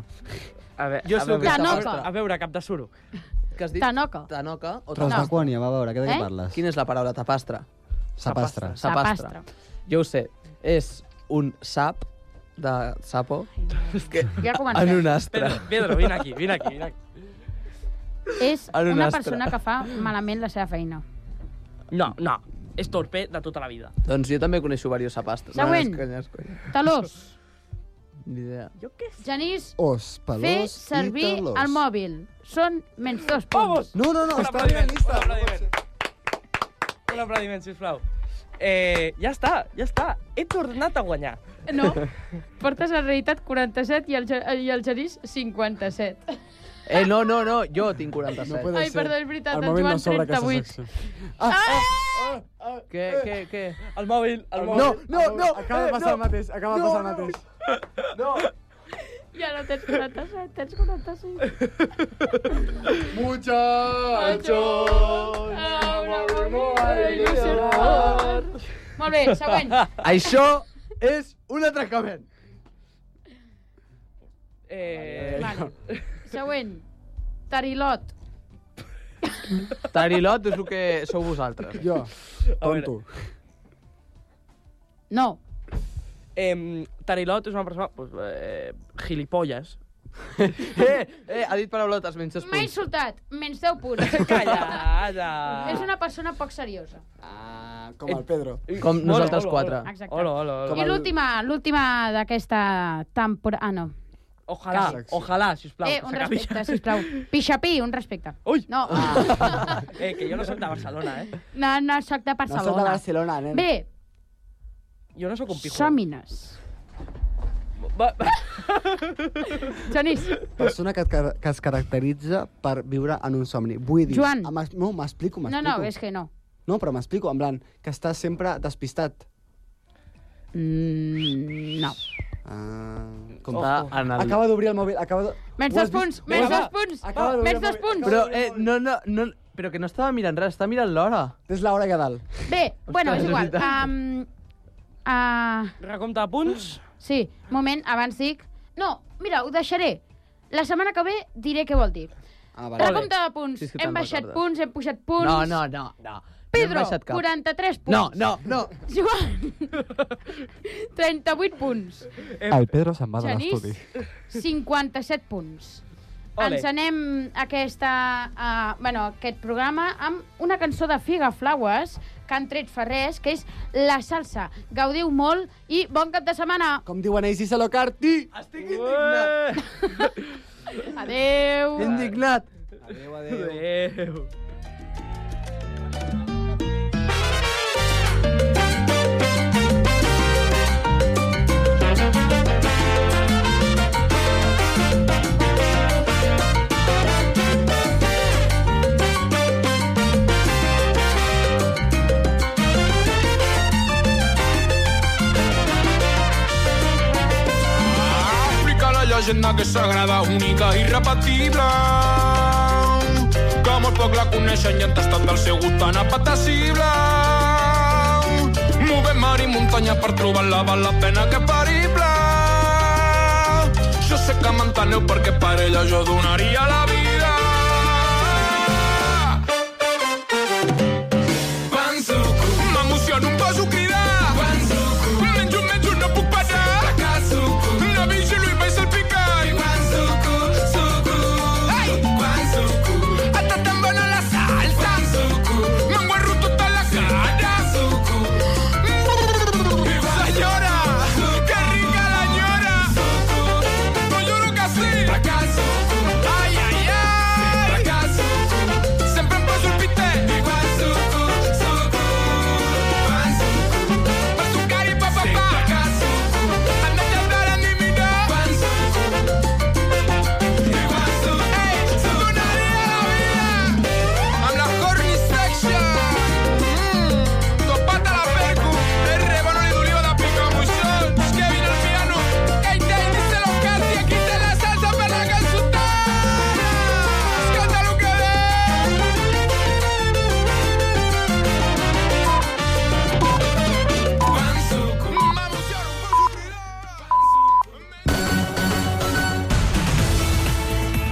A veure, Jo a sé el veure, que està Tanoca. passant. a veure cap de suro. Què has dit? Tanoca. Tanoca o tapastra? Transdaquània, va a veure, què de Eh? què parles? Quina és la paraula? Tapastra. Sapastre. Sapastre. Jo ho sé. És un sap de sapo És que... Ja comencem. en un astre. Pedro, Pedro, vine aquí, vine aquí, vine aquí. És en un una astre. persona que fa malament la seva feina. No, no, és torpe de tota la vida. Doncs jo també coneixo diversos sapastres. Següent. No, no, és conya, és conya. Talós. Ni idea. Jo què sé. Genís, Os, fer pelós servir Oh, i talós. el mòbil. Són menys dos punts. No, no, no, Un està bien, aplaudiment, un lista. aplaudiment. Un aplaudiment, sisplau. Eh, ja està, ja està. He tornat a guanyar. No, portes en realitat 47 i el, Ge- i el Genís 57. Eh, no, no, no, jo tinc 47. Ai, perdó, és veritat, Al en moment Joan sobra aquesta 38. Què, Eh, què, què? El mòbil, el mòbil. No, no, no. Acaba de passar el mateix, acaba de passar el mateix. Ja no tens 47, tens 46. Muchachos, Molt bé, següent. Això és un atracament. Eh, Vale. Següent. Tarilot. Tarilot és el que sou vosaltres. Jo, a veure, tonto. No. eh, Tarilot és una persona... Pues, eh, gilipolles. Eh, eh, ha dit paraulotes menys dos M'ha punts. insultat. Menys 10 punts. Calla, calla. És una persona poc seriosa. Ah, com el Pedro. Com Eh, Hola, nosaltres hola, quatre. hola. Exacte. Hola, hola, hola. Com I el- l'última, l'última d'aquesta temporada... Ah, no. Ojalà, Calla. ojalà, sisplau. eh, que un s'acabi ja. respecte, sisplau. Pixapí, un respecte. Ui! No, Eh, que jo no soc de Barcelona, eh? no, no soc No sóc de de Barcelona. Barcelona, nen. Bé, Jo no sóc un pijo. sòmines. Va, va. Genís, Persona que, et car- que es caracteritza per viure en un somni. Vull dir... Joan. ah, m'es- No, m'explico, no, m'explico. no, és que no. No, però m'explico, en plan, que estàs sempre despistat. Mm, no. Ah, com... Està en el... Acaba d'obrir el mòbil, acaba de... Menys Ho has dos punts, vist? menys Vinga, dos va. punts, Acaba d'obrir menys el dos mòbil. punts. Però, eh, no, no, no, però que no estava mirant res, estava mirant l'hora. És l'hora que dalt. Bé, bueno, és és igual. veritat. Um, uh, Recompte de punts. sí, moment, abans dic... No, mira, ho deixaré. La setmana que ve diré què vol dir. Ah, vale. Recompte de punts. Sí, és que te'n hem baixat recordes. punts, hem pujat punts. No, no, no, no. Pedro, no hem baixat cap. 43 punts. No, no, no. Joan, 38 punts. Eh, El Pedro se'n va de Genís, l'estudi. 57 punts. Ole. Ens anem aquesta, uh, bueno, aquest programa amb una cançó de Figa Flowers que han tret fa res, que és La Salsa. Gaudiu molt i bon cap de setmana. Com diuen ells, Isalo Carti! Estic indignat. Adeu. Indignat. Adéu, Adéu. Àfrica, la llegenda que és sagrada, única, irrepetible. amor poc la coneixen i han tastat del seu gust tan apetecible. Movem mar i muntanya per trobar-la, val la pena que parible. Jo sé que m'enteneu perquè per ella jo donaria la vida. Mm.